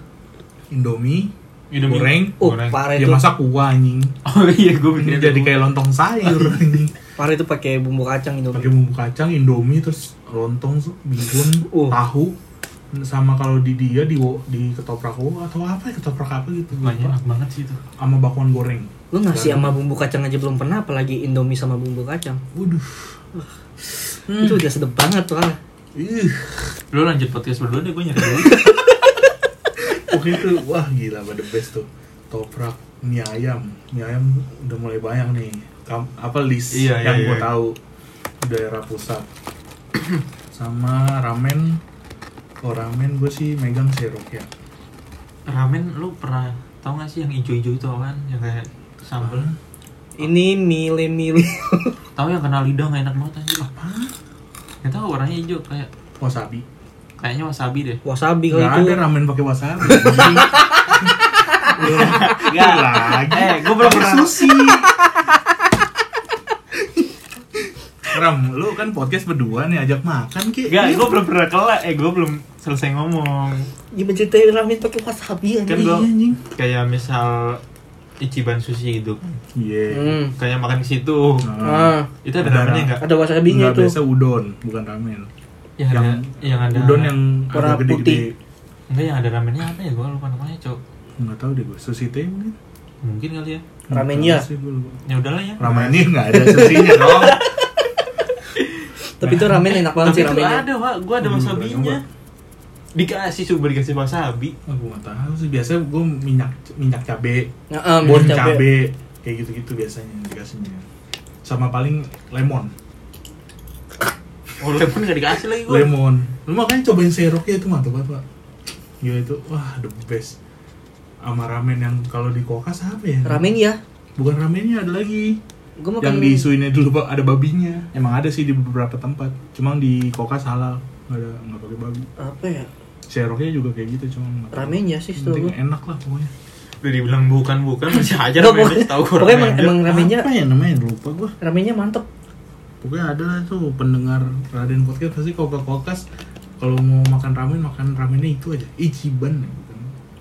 D: Indomie,
C: Indomie.
D: Goreng.
B: Oh,
C: Goreng.
B: parah
D: dia
B: itu.
D: masak kuah anjing.
C: Oh iya, gue
D: Ini
C: bikin
D: jadi kayak lontong sayur anjing.
B: Parah itu pakai bumbu kacang itu.
D: Pakai bumbu kacang, Indomie terus lontong, bihun,
B: Oh.
D: tahu sama kalau di dia di wo- di ketoprak wowo atau apa ya, ketoprak apa gitu
C: Banyak
D: lupa.
C: enak banget sih itu.
D: sama bakwan goreng.
B: Lu nasi sama bumbu kacang aja belum pernah, apalagi Indomie sama bumbu kacang.
D: Waduh. Hmm.
B: Itu udah sedep banget soalnya.
D: Ih,
C: Lu lanjut podcast berdua deh, gue nyari dulu.
D: oke itu wah gila pada best tuh. Toprak mie ayam, mie ayam udah mulai banyak nih. Kam- apa list
C: Iya,
D: yang
C: iya,
D: gue
C: iya.
D: tahu di daerah pusat. Sama ramen, oh ramen gue sih megang serok ya.
C: Ramen lu pernah tau gak sih yang ijo-ijo itu kan? Yang kayak sambel.
B: Ini mile-mile.
C: Tahu yang kena lidah gak enak banget anjir. Apa? Gak tau warnanya hijau kayak
D: Wasabi.
C: kayaknya wasabi deh.
B: Wasabi kalau
D: Gak
B: Iya, itu.
D: ada ramen pakai wasabi. Iya. Gak lagi.
C: Eh, gue belum pernah.
D: sushi. Ram, lu kan podcast berdua nih ajak makan ki. Iya.
C: Gak, gue belum pernah kelar. Eh, gue belum selesai ngomong.
B: Gimana ceritanya ramen pakai wasabi aja.
C: Kan gue
D: Iya, anjing.
C: kayak misal Ichiban sushi gitu.
D: Iya.
B: Hmm.
C: Kayak makan di situ.
B: Ah,
D: Nah,
C: Itu ada
D: Ada
C: ramennya gak?
B: ada wasabinya
D: nggak
B: itu.
D: biasa udon, bukan ramen.
C: Yang, ada, yang ada
D: udon yang
B: warna
D: agak gede-gede.
C: Enggak yang ada ramennya apa ya? Gua lupa namanya, Cok.
D: Nggak tahu deh gue. Sushi teh mungkin.
C: Mungkin kali ya.
D: Nggak
B: Ramennya.
D: tahu sih gua lupa.
C: Ya udahlah ya.
D: Ramennya nggak ada sushinya dong.
B: Tapi itu ramen enak banget
C: Tapi
B: sih
C: itu
B: ramennya.
C: ada, Wak. Gua ada
D: Hmm,
C: wasabinya.
D: coba.
C: Dikasih coba dikasih wasabi.
D: Aku nggak tahu sih. Biasanya gue minyak minyak cabe,
B: Nah, ah,
D: bon
B: minyak cabe.
D: cabe, kayak gitu-gitu biasanya dikasihnya. Sama paling lemon.
C: Oh, lemon enggak dikasih
B: Iya,
C: lagi gua.
D: lemon lu makanya cobain seroknya itu mantap banget pak gila itu wah the best sama ramen yang kalau di kokas apa ya
B: Ramen ya.
D: bukan ramennya ada lagi
B: Gue makan
D: yang diisuinnya dulu Pak, ada babinya emang ada sih di beberapa tempat cuma di kokas halal nggak ada nggak pakai babi
B: apa ya?
D: seroknya juga kayak gitu cuma nggak pakai.
B: Ramennya sih setahu
D: penting
B: gue.
D: enak lah pokoknya
C: Udah dibilang bukan bukan masih
D: Ya,
C: aja
B: Nggak,
C: namanya
B: pokoknya-
C: tahu
B: pokoknya emang, emang ramennya
D: apa ya namanya lupa gua
B: ramennya mantep.
D: pokoknya ada lah tuh pendengar Raden Podcast pasti kalau ke kokas kalau mau makan ramen makan ramennya itu aja Ichiban ya bukan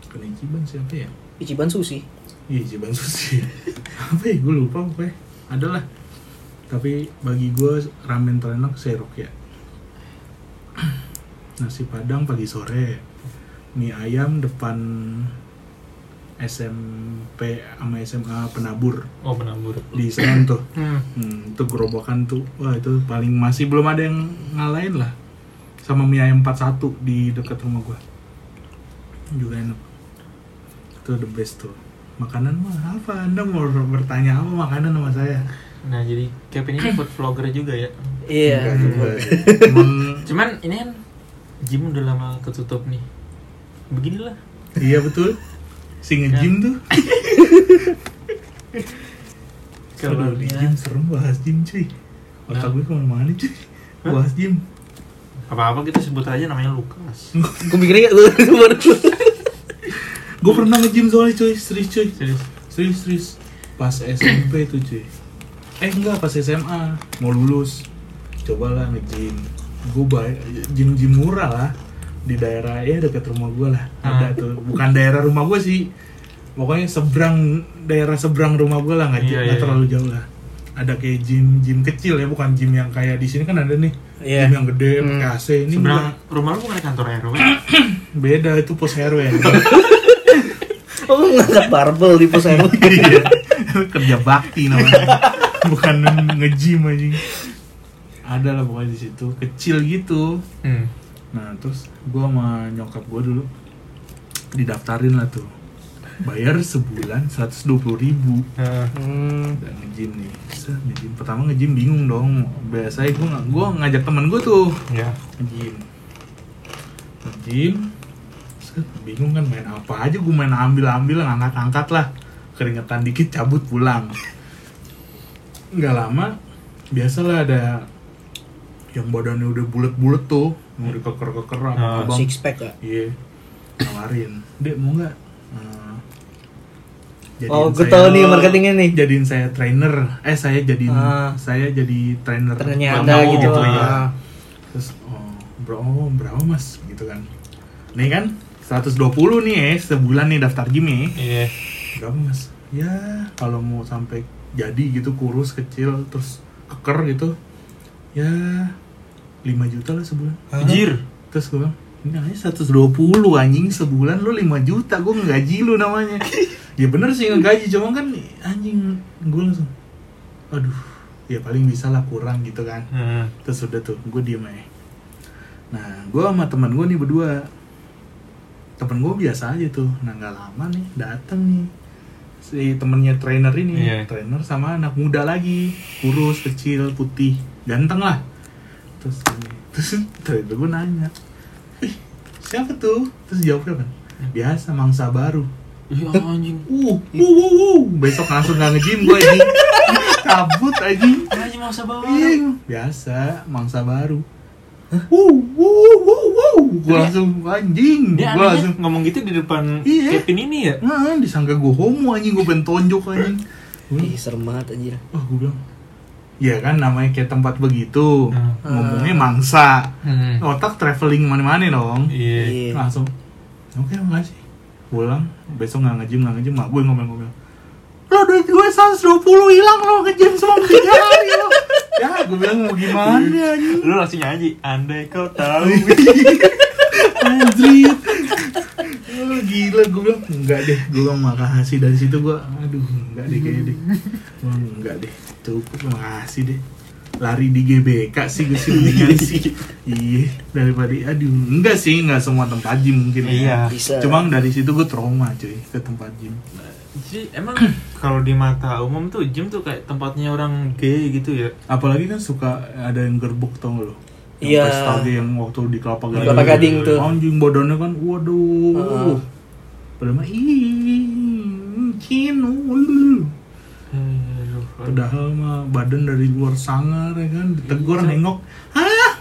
D: bukan Ichiban siapa ya
B: Ichiban sushi.
D: iya Ichiban sushi apa ya gue lupa pokoknya ada lah tapi bagi gue ramen terenak serok ya nasi padang pagi sore mie ayam depan SMP sama SMA penabur
C: Oh penabur.
D: di Senen tuh
C: Hmm.
D: Hmm, itu gerobakan tuh, wah itu paling masih belum ada yang ngalahin lah sama mie ayam 41 di dekat rumah gua juga enak itu the best tuh makanan mah apa anda mau bertanya apa makanan sama saya
C: Nah jadi Kevin ini food vlogger juga ya.
D: Enggak
B: Iya.
D: juga. Cuman,
C: Cuman ini kan gym udah lama ketutup nih. Beginilah.
D: iya betul
C: Iya.
D: si nge-gym tuh
C: Kalau
D: Aduh, di
C: dia
D: gym serem bahas gym cuy otak
C: Nah.
D: gue kemana-mana cuy bahas gym
C: apa-apa kita sebut aja namanya Lukas.
B: Gue mikirnya lu kemarin.
D: gue pernah nge-gym soalnya cuy serius cuy
C: Serius.
D: Serius, serius. Pas SMP tuh cuy. Eh enggak, pas SMA. Mau lulus. Cobalah nge-gym. Gue bayar, gym-gym murah lah. Di daerah, ya dekat rumah gue lah.
C: Ah.
D: Ada tuh. Bukan daerah rumah gue sih. Pokoknya seberang, daerah seberang rumah gue lah. Nggak
C: Iya,
D: nggak
C: iya.
D: terlalu jauh lah. Ada kayak gym, gym kecil ya. Bukan gym yang kayak di sini kan ada nih.
B: Iya.
D: Gym yang gede,
B: Hmm.
D: pakai AC. Ini
C: Seberang
D: enggak.
C: rumah lu bukan kantor RW.
D: beda, itu pos hero ya.
B: Oh, lu ngajak barbel di pos air.
D: Iya. kerja bakti namanya bukan nge-gym anjing ada lah pokoknya di situ kecil gitu
C: Hmm.
D: nah terus gua sama nyokap gua dulu didaftarin lah tuh bayar sebulan 120.000 ribu
C: Nah,
B: Hmm.
D: dan nge-gym nih Set, nge-gym pertama nge-gym bingung dong biasanya gua nggak- gua ngajak temen gua tuh
C: ya.
D: nge-gym nge-gym Set, bingung kan main apa aja gue main ambil-ambil angkat-angkat lah keringetan dikit cabut pulang nggak lama biasalah ada yang badannya udah bulet-bulet tuh mau dikeker-keker sama
C: Ah,
D: abang
B: Six pack ya.
D: iya nawarin dek mau nggak Hmm, jadiin
B: Oh, gue
D: saya-
B: tahu nih marketingnya nih.
D: jadiin saya trainer eh saya jadiin
B: Ah.
D: saya jadi trainer
B: Trainernya
D: Bang
B: Anda
D: Namo
B: gitu.
D: ya.
B: Ah.
D: terus oh bro oh, berapa mas gitu kan nih kan 120 nih eh sebulan nih daftar gym ya
C: Iya.
D: berapa mas ya kalau mau sampai jadi gitu kurus kecil terus keker gitu ya 5 juta lah sebulan
C: Jir.
D: terus gue bilang ini aja 120 anjing sebulan lu 5 juta gue ngegaji lu namanya ya bener sih ngegaji cuma kan anjing gue langsung aduh ya paling bisa lah kurang gitu kan
C: Hmm.
D: terus udah tuh gue diem aja nah gue sama teman gue nih berdua temen gue biasa aja tuh nah nggak lama nih dateng nih si temennya trainer ini
C: Iya.
D: trainer sama anak muda lagi kurus kecil putih ganteng lah terus ini terus trainer gue nanya "Ih, siapa tuh terus jawabnya kan biasa mangsa baru
C: Iya anjing.
D: uh uh uh, uh. besok langsung gak nge-gym gue anjing kabut anjing
C: Anjing masa bawah.
D: Iya, biasa mangsa baru. Wuh, wuh, wuh, wuh. Gue langsung anjing.
C: Dia
D: Gue
C: anehnya
D: langsung
C: ngomong gitu di depan
D: Iya.
C: Kevin ini ya.
D: nah, disangka gue homo anjing, gue pengen tonjok anjing. Gua-
B: Ih, serem banget anjir.
C: Oh,
D: Wah, gue bilang. Ya kan namanya kayak tempat begitu.
C: Hmm.
D: Ngomongnya mangsa.
C: Hmm.
D: Otak traveling mana-mana dong.
C: Iya.
B: Iya.
D: langsung oke makasih pulang besok nggak ngejim nggak ngejim mak gue ngomel-ngomel lo duit gue 120 hilang lo ngejim selama tiga hari lo ya gue bilang mau gimana
C: Iya.
D: anjing
C: Lu langsung nyanyi andai kau tahu.
D: anjrit Oh, gila gue bilang enggak deh gue bilang makasih dari situ gue aduh enggak deh kayaknya deh Gue bilang, enggak deh cukup makasih deh lari di GBK sih gue sih mendingan sih iya daripada aduh enggak sih enggak semua tempat gym mungkin
C: Iya.
D: ya."
B: Bisa.
D: Cuma dari situ gue trauma cuy ke tempat gym.
C: Jadi emang kalau di mata umum tuh gym tuh kayak tempatnya orang gay gitu ya.
D: Apalagi kan suka ada yang gerbuk tau gak lo? Yang
B: Iya.
D: pesta dia yang waktu di Kelapa Gading. Iya.
B: Kelapa Gading tuh.
D: Anjing badannya kan waduh.
B: Heeh.
D: Padahal mah ih cino.
C: Aduh.
D: Padahal mah badan dari luar sangar ya kan ditegur
B: Iya.
D: nengok. Hah?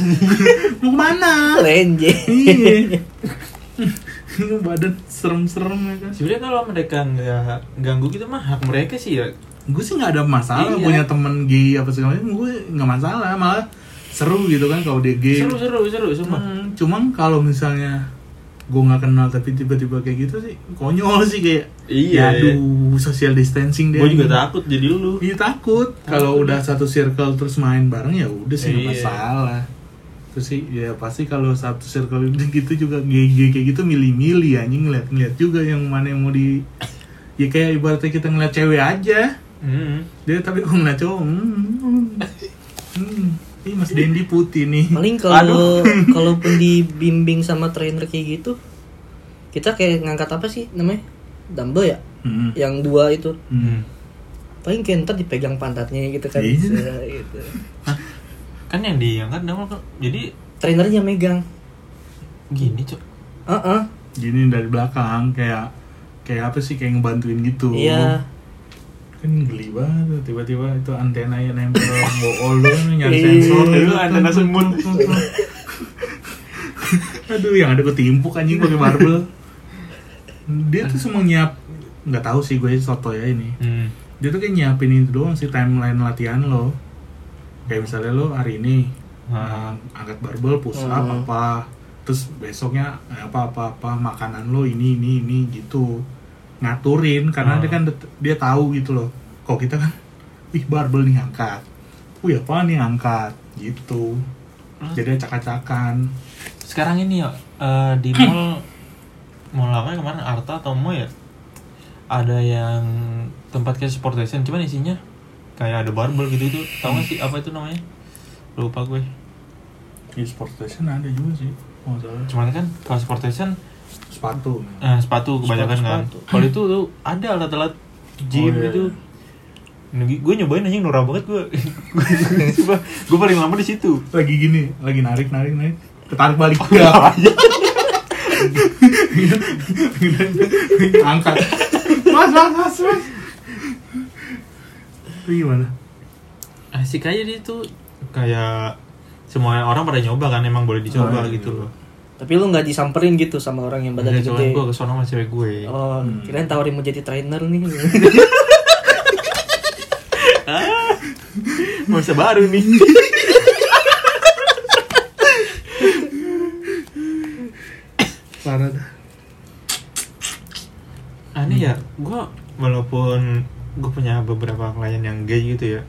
D: Mau kemana?
B: Lenje.
D: Iya. badan serem-serem ya kan.
C: sebenarnya kalau mereka nggak ganggu gitu mah hak mereka sih ya
D: Gue sih nggak ada masalah
C: Iya.
D: punya temen gay apa segala macam. Gue nggak masalah malah seru gitu kan kalau dia gay.
C: seru seru seru semua
D: Hmm, cuman kalau misalnya gue nggak kenal tapi tiba-tiba kayak gitu sih konyol sih kayak
C: Iya.
D: ya aduh social distancing dia
C: gue juga takut jadi lu
D: Iya takut kalau udah satu circle terus main bareng ya udah sih nggak
C: Iya.
D: masalah. Terus sih ya pasti kalau satu circle udah gitu juga GG kayak gitu milih-milih anjing ngeliat-ngeliat juga yang mana yang mau di ya kayak ibaratnya kita ngeliat cewek aja
C: Hmm.
D: dia tapi kalau ngeliat cowok hmm, hmm, hmm. Ih, Mas Dendi putih nih
B: Paling kalau kalaupun dibimbing sama trainer kayak gitu, kita kayak ngangkat apa sih namanya? Dumbbell ya?
D: Hmm.
B: Yang dua itu.
D: Hmm.
B: Paling kayak ntar dipegang pantatnya gitu kan.
D: Iya.
B: Se- gitu.
C: kan yang diangkat dong kan jadi
B: Trainernya megang.
C: gini cok
B: Heeh.
D: gini dari belakang kayak kayak apa sih kayak ngebantuin gitu
B: Iya.
D: kan geli banget tuh, tiba-tiba itu antena yang nempel bool lu nyari
B: Iya.
D: sensor
C: Lu antena semut.
D: aduh yang ada ketimpuk anjing pakai barbel dia tuh semua nyiap nggak tahu sih gue soto ya ini
C: hmm.
D: dia tuh kayak nyiapin itu doang sih timeline latihan lo kayak misalnya lo hari ini
C: Hmm.
D: eh, angkat barbel push up
B: Hmm.
D: apa terus besoknya eh, apa apa apa makanan lo ini ini ini gitu ngaturin karena
C: Hmm.
D: dia kan det- dia tahu gitu loh kok kita kan ih barbel nih angkat wih apa nih angkat gitu
C: Hmm.
D: jadi acak-acakan
C: sekarang ini ya eh, di mall mall apa ya kemarin Arta atau Mo ya ada yang tempat kayak sport station cuman isinya kayak ada barbel gitu itu tau gak sih apa itu namanya lupa gue
D: di sport station ada juga sih oh, salah.
C: cuman kan kalau sport station
D: sepatu
C: eh, sepatu kebanyakan kan
D: Sepatu-sepatu.
C: kalau itu tuh ada alat-alat gym
D: Oh, iya,
C: gitu
D: iya.
C: gue nyobain aja norak banget gue gue paling lama di situ
D: lagi gini lagi narik narik narik ketarik balik ya angkat mas mas mas mas itu gimana
C: asik aja dia tuh kayak semua orang pada nyoba kan emang boleh dicoba
D: Oh, iya.
C: gitu loh
B: Tapi lu nggak disamperin gitu sama orang yang badannya
C: Badan cuman
B: gede.
C: gue kesana sama cewek gue
B: Oh,
D: Hmm.
B: kirain tawarin mau jadi trainer nih.
C: masa baru nih
D: parah dah
C: aneh ya gue walaupun gue punya beberapa klien yang gay gitu ya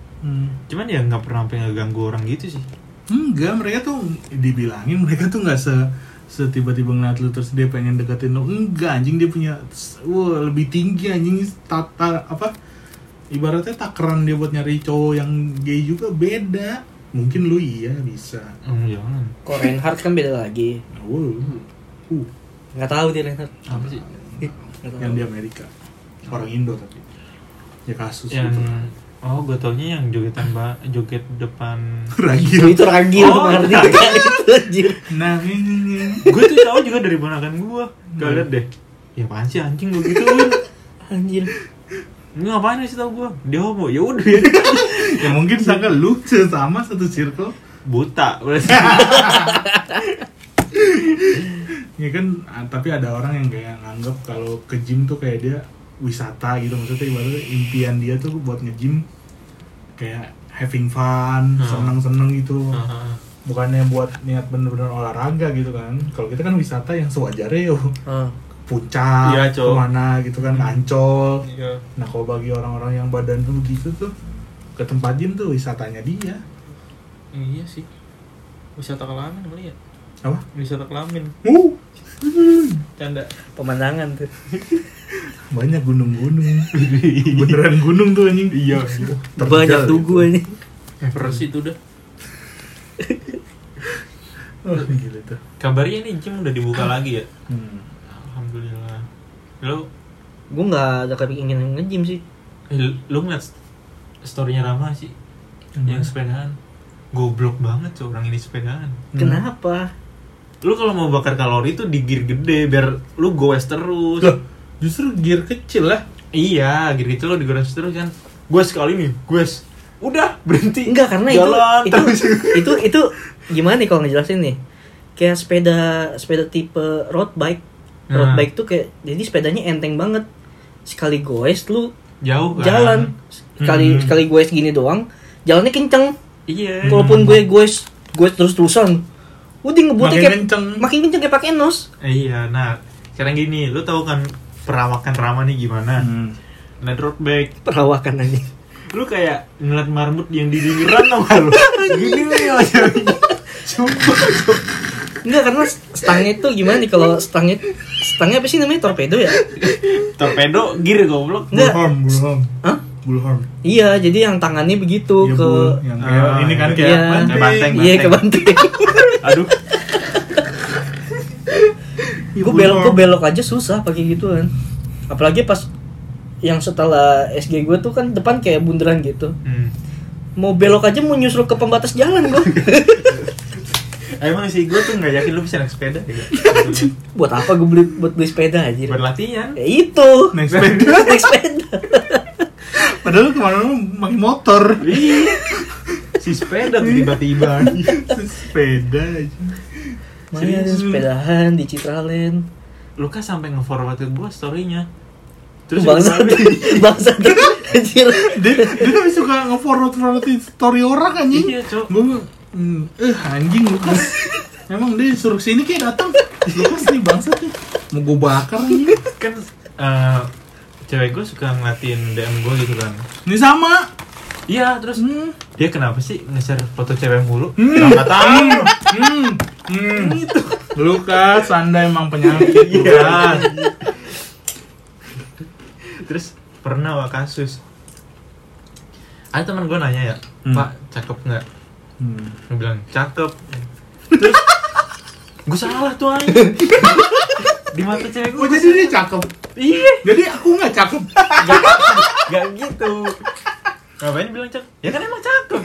C: cuman ya nggak pernah sampai ngeganggu orang gitu sih
D: Hmm. enggak mereka tuh dibilangin mereka tuh nggak se setiba-tiba ngeliat lu terus dia pengen deketin lu enggak anjing dia punya wah lebih tinggi anjing tata apa ibaratnya takaran dia buat nyari cowok yang gay juga beda mungkin lu iya bisa
C: Hmm, jangan
B: Kok Reinhardt kan beda lagi.
D: wow uh,
B: Nggak tahu dia Reinhardt.
C: apa sih
B: Nggak tahu.
D: yang di Amerika orang Indo tapi ya kasus
C: yang
D: gitu
C: oh gue taunya yang joget tambah joget depan
B: Itu-
D: ragil
B: itu ragil
C: Oh,
B: bukan ngerti kan itu anjir.
D: nah ini
C: gue tuh tahu juga dari ponakan gue kalian deh ya apaan sih anjing gue gituin
B: Anjir.
C: Ini ngapain sih tau gue dia homo ya udah ya.
D: ya mungkin sangka lu sama satu circle
C: buta berarti
D: ya kan ah, tapi ada orang yang kayak nganggap kalau ke gym tuh kayak dia wisata gitu maksudnya ibaratnya impian dia tuh buat nge-gym kayak having fun
C: Hmm.
D: seneng-seneng gitu bukannya buat niat bener-bener olahraga gitu kan kalau kita kan wisata yang sewajarnya yuk
B: Ah,
D: puncak
C: Iya, Cok. Hmm.
D: kemana gitu kan ancol
C: Iya.
D: Nah kalau bagi orang-orang yang badan tuh gitu tuh ke tempat gym tuh wisatanya dia.
C: iya sih wisata kelamin kali ya
D: Apa?
C: wisata kelamin
D: Uh,
C: canda
B: pemandangan tuh.
D: banyak gunung-gunung. Beneran gunung tuh anjing. Iya.
B: Banyak tugu ini.
C: Persis itu udah
D: Oh, gila tuh.
C: kabarnya nih gym udah dibuka lagi ya
D: Hmm.
C: alhamdulillah lo
B: Gue nggak ada keinginan nge-gym sih.
C: eh, lo ngeliat storynya Rama sih yang sepedaan goblok banget tuh orang ini sepedaan
D: Hmm.
B: Kenapa?
C: lu kalau mau bakar kalori tuh di gear gede biar lu goes terus
D: Loh, justru gear kecil lah.
C: iya gear gitu lo digores terus kan gue sekali nih gue udah berhenti
B: Enggak karena itu
C: jalan
B: itu,
C: terus.
B: itu itu gimana nih kalau ngejelasin nih? Kayak sepeda sepeda tipe road bike. Road
C: Nah.
B: bike tuh kayak jadi sepedanya enteng banget. Sekali goes lu
C: jauh kan?
B: jalan. Sekali
C: Hmm.
B: sekali goes gini doang, jalannya kenceng.
C: iya
B: Walaupun Hmm. gue goes goes terus-terusan. Udin ngebutnya
D: Makin
B: kayak
D: kenceng.
B: makin kenceng kayak pakai nos.
C: iya nah sekarang gini lu tahu kan perawakan Rama nih gimana
D: Hmm.
C: nah road bike
B: Perawakan anjing.
C: lu kayak ngeliat marmut yang di pinggiran sama lu gini nih aja sumpah
B: Enggak karena stangnya itu gimana nih kalau stangnya stangnya apa sih namanya torpedo ya?
C: torpedo gear goblok
B: Enggak.
D: Bullhorn, bullhorn.
B: Hah?
D: Bullhorn.
B: Iya, jadi yang tangannya begitu
D: Iya,
B: ke
D: bull. Yang kayak
C: Ah,
D: ini kan
C: iya.
D: kayak
B: Iya.
D: banteng.
C: Kayak banteng.
B: Iya, ke banteng.
C: aduh
D: Iya,
B: gue belok gue
D: bullhorn.
B: belok aja susah pakai gituan. Apalagi pas yang setelah SG gue tuh kan depan kayak bundaran gitu.
C: Hmm.
B: Mau belok aja mau nyusul ke pembatas jalan gue.
C: emang sih gue tuh nggak yakin lu bisa naik sepeda ya?
B: buat apa gue beli buat beli sepeda anjir?
C: buat latihan
B: Ya itu.
D: Naik sepeda.
B: Naik sepeda.
D: Padahal lu kemana lu pakai motor.
C: Ih, si sepeda tuh tiba-tiba
D: Iya. sepeda aja.
B: Mana ada sepedahan di Citraland.
C: Luka kan sampai nge-forward ke gue story-nya Terus
B: Terus bangsa
C: gue balik.
B: bangsa anjir.
D: Dia, dia tapi suka nge-forward forward story orang anjing.
C: Iya, Cok.
D: Gue mm, eh anjing Lukas. Emang dia suruh sini kayak datang. Lukas nih bangsat nih. Mau gue bakar anjing.
C: kan eh, cewek gue suka ngeliatin DM gue gitu kan
D: Ini sama.
C: iya terus
D: Hmm.
C: dia kenapa sih nge-share foto cewek mulu
D: Hmm.
C: kenapa tahu
D: Hmm. Hmm.
C: Gitu.
D: Lukas, anda emang penyakit.
C: Iya.
D: Lukas.
C: terus pernah wah kasus ada teman gue nanya ya
D: Hmm.
C: pak cakep nggak
D: Hmm.
C: gue bilang cakep terus gue salah tuh anjing di mata cewek
D: Oh
C: gue
D: jadi dia cakep.
C: iya
D: Jadi aku nggak cakep.
C: Gak gitu. Ngapain bilang cakep? Ya kan emang cakep.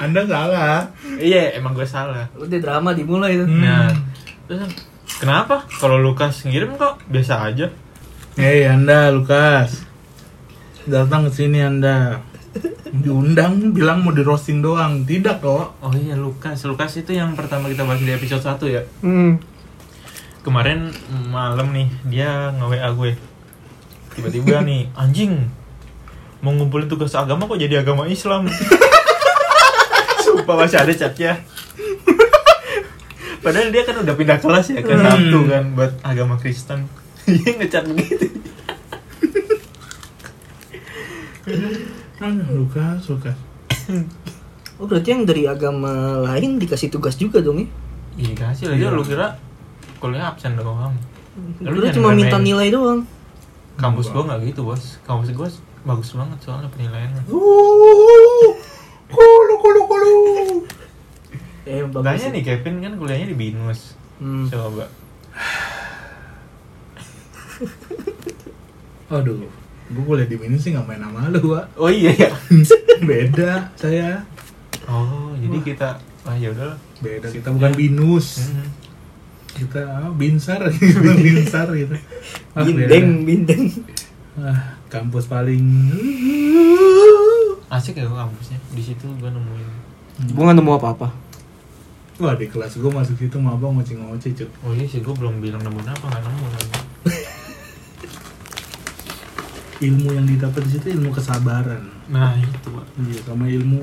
D: Anda salah.
C: iya, emang gue salah.
B: Udah drama dimulai itu.
D: Hmm.
C: Nah, terus kenapa? Kalau Lukas ngirim kok biasa aja.
D: Hei Anda Lukas. Datang ke sini Anda. Diundang bilang mau di roasting doang. Tidak kok.
C: Oh iya Lukas, Lukas itu yang pertama kita bahas di episode 1 ya.
B: Hmm.
C: Kemarin malam nih dia nge-WA gue. Tiba-tiba nih, anjing. Mau ngumpulin tugas agama kok jadi agama Islam. Sumpah masih ada catnya. Padahal dia kan udah pindah kelas ya ke
D: Hmm.
C: Sabtu kan buat agama Kristen. Dia Iya, ngecat begitu.
D: Aduh, Lukas, Lukas.
B: Oh berarti yang dari agama lain dikasih tugas juga dong ya?
C: Iya kasih lah, dia lu kira kuliah absen doang. Lu
B: Lu,
C: jangan
B: cuma minta
C: main-main.
B: nilai doang.
C: Kampus gua nggak gitu bos, kampus gua bagus banget soalnya penilaiannya.
D: Uh, Kulu kulu kulu.
B: Eh
C: Makanya nih Kevin kan kuliahnya di Binus.
B: Hmm.
C: Coba.
D: Aduh. Gue boleh di sih nggak main sama lu, Wak.
C: Oh iya ya.
D: Beda saya.
C: Oh, jadi kita ah ya udahlah.
D: Beda kita bukan binus.
C: Mhm.
D: Kita ah, binsar, binsar gitu. Ah, beda.
B: Bindeng, bindeng.
D: Ah, kampus paling
C: Asik ya gua kampusnya. Di situ gua nemuin.
E: Gue gak nemu apa-apa.
D: Wah di kelas gue masuk situ mabang ngoceh-ngoceh cuk
C: Oh iya sih gua belum bilang nemuin apa nggak nemu. kan.
D: Ilmu yang didapat di situ ilmu kesabaran
C: Nah itu, Pak.
D: Iya sama ilmu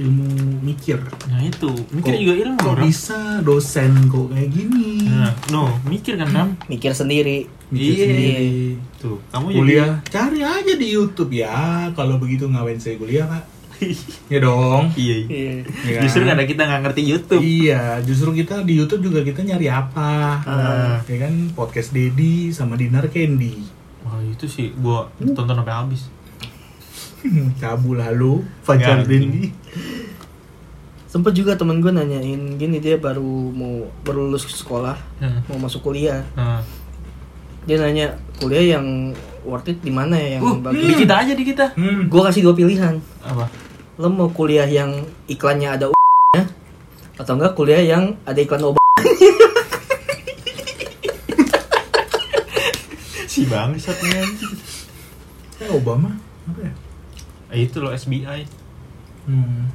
D: ilmu mikir
C: nah itu mikir
D: Kok-
C: juga ilmu
D: Kok
C: Ram.
D: bisa dosen kok kayak gini
C: Nah, no mikir kan Ram.
B: Mikir sendiri.
D: Mikir
C: Iya. Oh,
D: sendiri
C: Tuh kamu jadi-
D: Kuliah cari aja di Youtube ya Kalau begitu ngawain saya kuliah kak Ya dong
C: Iya. iya.
B: Iya.
D: Iya.
C: Justru karena kita nggak ngerti YouTube.
D: Iya, justru kita di YouTube juga kita nyari apa,
C: Ah.
D: ya kan podcast Dedi sama Dinar Candy.
C: Wah itu sih gua tonton sampai habis.
D: Cabul lalu Fajar
C: Nggak,
D: Dendi.
B: Sempet juga temen gue nanyain gini dia baru mau baru lulus sekolah
C: Nah,
B: mau masuk kuliah
C: nah.
B: dia nanya kuliah yang worth it di mana ya yang
C: Uh, di
B: bagus
C: kita aja di kita.
D: Hmm.
B: gue kasih dua pilihan
C: Apa?
B: lo mau kuliah yang iklannya ada nya atau enggak kuliah yang ada iklan obat
C: Si bangsat nih anjing.
D: Eh Obama apa ya?
C: Eh, itu loh SBI.
D: Hmm.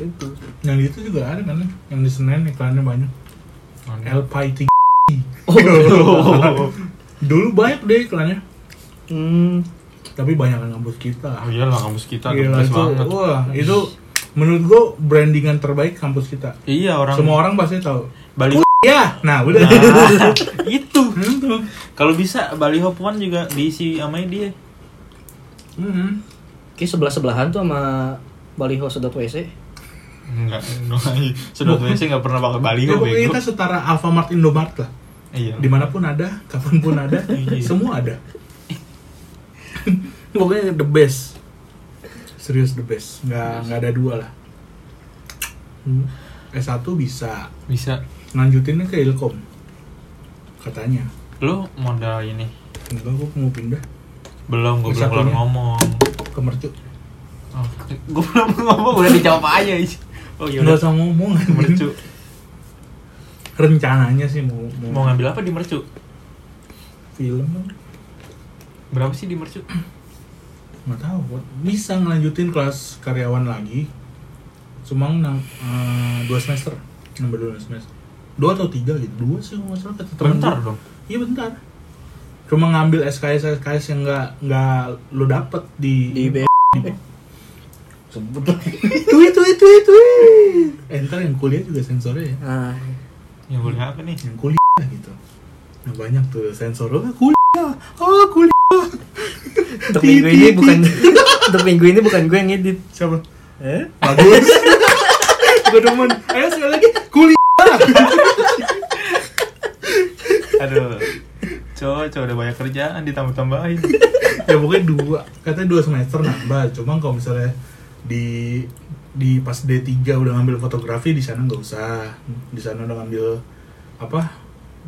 D: Itu. Yang di itu juga ada kan? Yang di Senen iklannya banyak.
C: Ada.
D: LPT.
C: Oh,
D: Dulu banyak deh iklannya.
F: Hmm.
D: Tapi banyak yang ngabut kita.
C: iya lah kampus kita
D: Gila
C: kampus
D: itu.
C: banget.
D: Wah, itu menurut gua brandingan terbaik kampus kita.
C: Iya orang
D: Semua orang pasti tahu.
C: Baliho.
D: Ya, nah udah.
C: Nah, itu.
D: Hmm, tuh.
C: Kalau bisa Baliho Puan juga diisi sama dia.
D: Hmm.
F: Kayak sebelah-sebelahan tuh sama baliho sedot WC.
C: Enggak, enggak. Sedot WC enggak pernah pakai Baliho
D: Ya, pokoknya
C: bego.
D: kita setara Alfamart Indomart lah.
C: Iya.
D: dimanapun ada, kapanpun ada,
C: Iya.
D: semua ada. Pokoknya the best, serius the best, nggak nggak ada dua lah. Hmm. S1 bisa,
C: Bisa
D: lanjutinnya ke Ilkom, katanya.
C: lu modal ini.
D: Enggak, gue mau pindah
C: Belum gue belum
D: Bisa
C: keluar
D: punya.
C: ngomong.
D: ke Mercu.
C: Oh, gue belum ngomong udah dijawab aja. Is. Oh, iya
D: Nggak
C: udah.
D: usah ngomong.
C: Mercu.
D: Rencananya sih mau
C: Mau ngambil apa di Mercu?
D: film,
C: Berapa sih di Mercu?
D: nggak tahu. Bisa ngelanjutin kelas karyawan lagi, cuma enam eh, dua semester, nambah dua semester. Dua atau tiga gitu, dua sih kalau nggak salah kata temen
C: Bentar
D: gua.
C: dong.
D: Iya bentar. Cuma ngambil SKS SKS yang nggak nggak lo dapet di
F: Di B.
D: sebut Tui tui tui tui. Eh, ntar yang kuliah juga sensornya ya.
F: Nah,
C: Yang boleh apa nih?
D: Yang kuliah gitu. Nah banyak tuh sensor. Oh, kuliah. Oh kuliah.
F: untuk minggu ini bukan untuk minggu ini bukan gue yang ngedit.
D: Siapa?
F: Eh?
D: Bagus. Gue demen. Ayo sekali lagi kuliah.
C: Aduh. Cowok, cowok udah banyak kerjaan ditambah-tambahin.
D: Ya pokoknya dua. Katanya dua semester nambah. Cuma kalau misalnya di di pas D3 udah ngambil fotografi di sana nggak usah di sana udah ngambil apa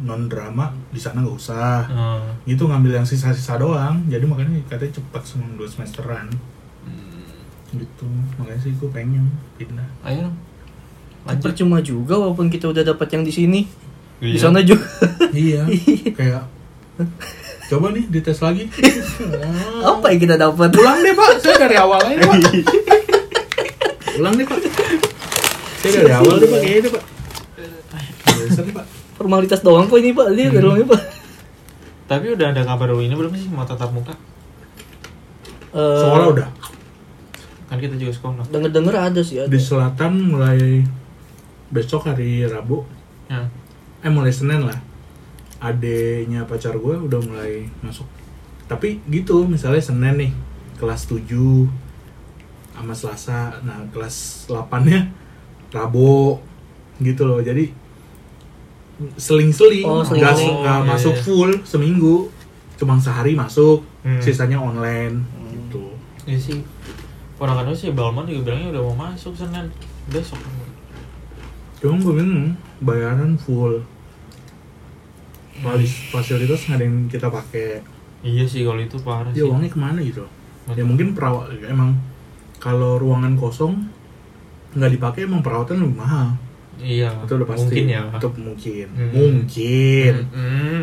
D: non drama di sana nggak usah
C: Oh.
D: itu ngambil yang sisa-sisa doang jadi makanya katanya cepat semua dua semesteran gitu makanya sih gue pengen pindah
C: Ayo dong. Lanjut.
F: Kan Percuma juga walaupun kita udah dapat yang di sini. Di
C: Iya.
F: sana juga.
D: iya kayak coba nih dites lagi
F: Apa yang kita dapat?
D: ulang deh pak saya dari awal aja deh, pak ulang deh pak saya dari awal deh pak kayaknya deh pak Biasa deh pak
F: Formalitas doang kok ini, Pak. Lihat dari ruangnya, Pak.
C: Tapi udah ada kabar ini belum sih mau tatap
F: Eh,
C: muka?
D: sekolah udah
C: Kan kita juga sekolah.
F: Dengar-dengar ada sih ada.
D: di selatan mulai besok hari rabu
C: Ya.
D: eh mulai Senin lah adenya pacar gue udah mulai masuk tapi gitu misalnya Senin nih kelas 7 sama Selasa nah kelas 8 nya Rabu gitu loh jadi seling-seling
F: Oh,
D: nggak
F: seling-seling.
D: nggak
C: Oh, iya,
D: masuk
C: iya.
D: full seminggu cuma sehari masuk
C: Hmm.
D: sisanya online gitu
C: Iya sih. Orang kadang sih Balman juga bilangnya udah mau masuk Senin besok.
D: cuma gue bingung bayaran full Falis- fasilitas nggak ada yang kita pakai
C: Iya sih kalau itu parah
D: ya
C: sih.
D: uangnya kemana gitu
C: Betul.
D: ya mungkin perawat emang kalau ruangan kosong nggak dipakai emang perawatan lebih mahal
C: Iya.
D: itu udah pasti
C: Mungkin ya.
D: itu mungkin
C: Hmm.
D: mungkin
C: Mm-mm.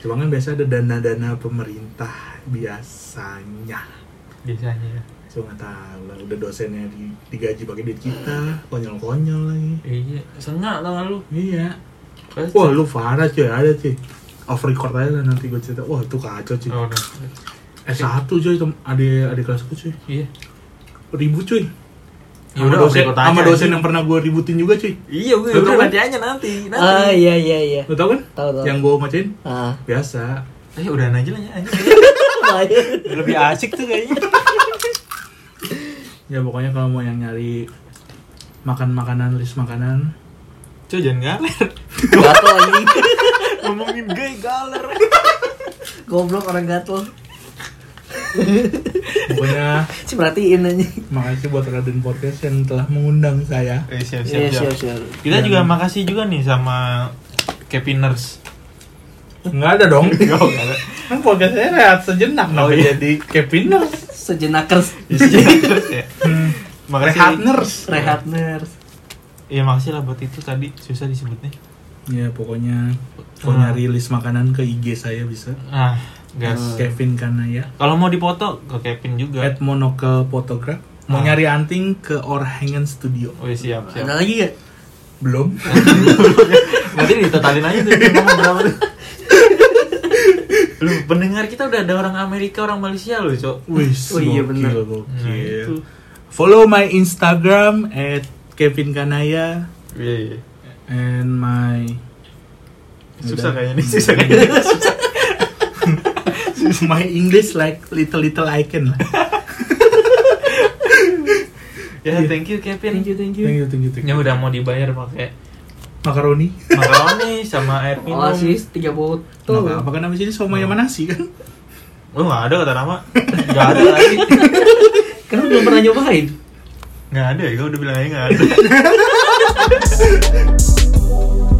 D: cuma kan biasa ada dana-dana pemerintah biasanya
C: Biasanya ya.
D: cuma nggak tahu lah udah dosennya di, digaji pakai duit kita konyol-konyol lagi
C: Iya. Sengak tangan lu.
D: iya
C: Pasti.
D: wah lu parah cuy ada cuy off record aja lah nanti gue cerita wah itu kacau cuy
C: Oh, udah.
D: S1 cuy tem- adik adik kelasku cuy
C: Iya.
D: ribut cuy
C: Ya
D: sama
C: udah,
D: dosen,
C: oke, gua tanya
D: sama dosen
C: aja.
D: yang pernah gue ributin juga cuy
C: Iya, gue
D: Lu tau kan?
C: aja nanti.
F: Ah, iya iya iya.
D: Lo tau kan?
F: Tahu tahu.
D: Yang gue macain
F: ah.
D: biasa.
C: Eh, udah aja lah ya. anjing. Lebih asik tuh kayaknya.
D: Ya pokoknya kalau mau yang nyari makan makanan list makanan
C: Cuy, jangan ngaler.
F: Gatel anjing.
C: Ngomongin gay galer.
F: Goblok orang gatel.
D: pokoknya
F: Si perhatiin anjing.
D: makasih buat Raden Podcast yang telah mengundang saya
C: Eh, siap, siap,
F: Iya,
C: siap. Iya.
F: siap siap.
C: Kita juga makasih juga nih sama Kepiners.
D: nggak ada dong
C: Yo, ada.
D: kan podcast saya rehat sejenak
C: Oh,
D: kenapa
C: iya.
D: jadi Keviners
F: Sejenakers,
C: Ya.
D: hmm.
C: Makasih.
D: rehatners
F: rehatners.
C: Iya, makasih lah buat itu tadi susah disebutnya.
D: ya pokoknya kalau nyari list makanan ke IG saya bisa
C: Ah, Gas.
D: Kevin karena ya
C: Kalau mau dipoto ke Kevin juga.
D: at Monocle Photograph mau
C: Ah.
D: nyari anting ke Orhangen Studio
C: Wih siap siap.
B: Ada lagi ya?
D: belum
C: Nanti ditotalin aja tuh dia ngomong berapa tuh. Lu pendengar kita udah ada orang Amerika, orang Malaysia loh, Cok.
D: Wis,
B: Oh iya,
D: gokil,
B: bener.
D: gokil.
C: Nah, itu.
D: Follow my Instagram at Kevin Kanaya
C: Iya, iya.
D: and my
C: Susah
D: Udah.
C: kayaknya nih, susah kayaknya.
D: my English like little little icon lah.
C: ya, thank you Kevin.
B: Thank you, thank you.
D: Thank you, thank you, thank
C: Ya
D: you.
C: udah mau dibayar pakai
D: Makaroni.
C: makaroni sama air minum.
B: Oh, sis, tiga
D: Tuh.
B: botol.
D: Apa apa kan habis ini somai sama nasi kan?
C: Lu nggak ada kata nama? Nggak ada lagi.
B: Kan lu belum pernah nyobain.
C: Nggak ada ya, gue udah bilang aja nggak ada.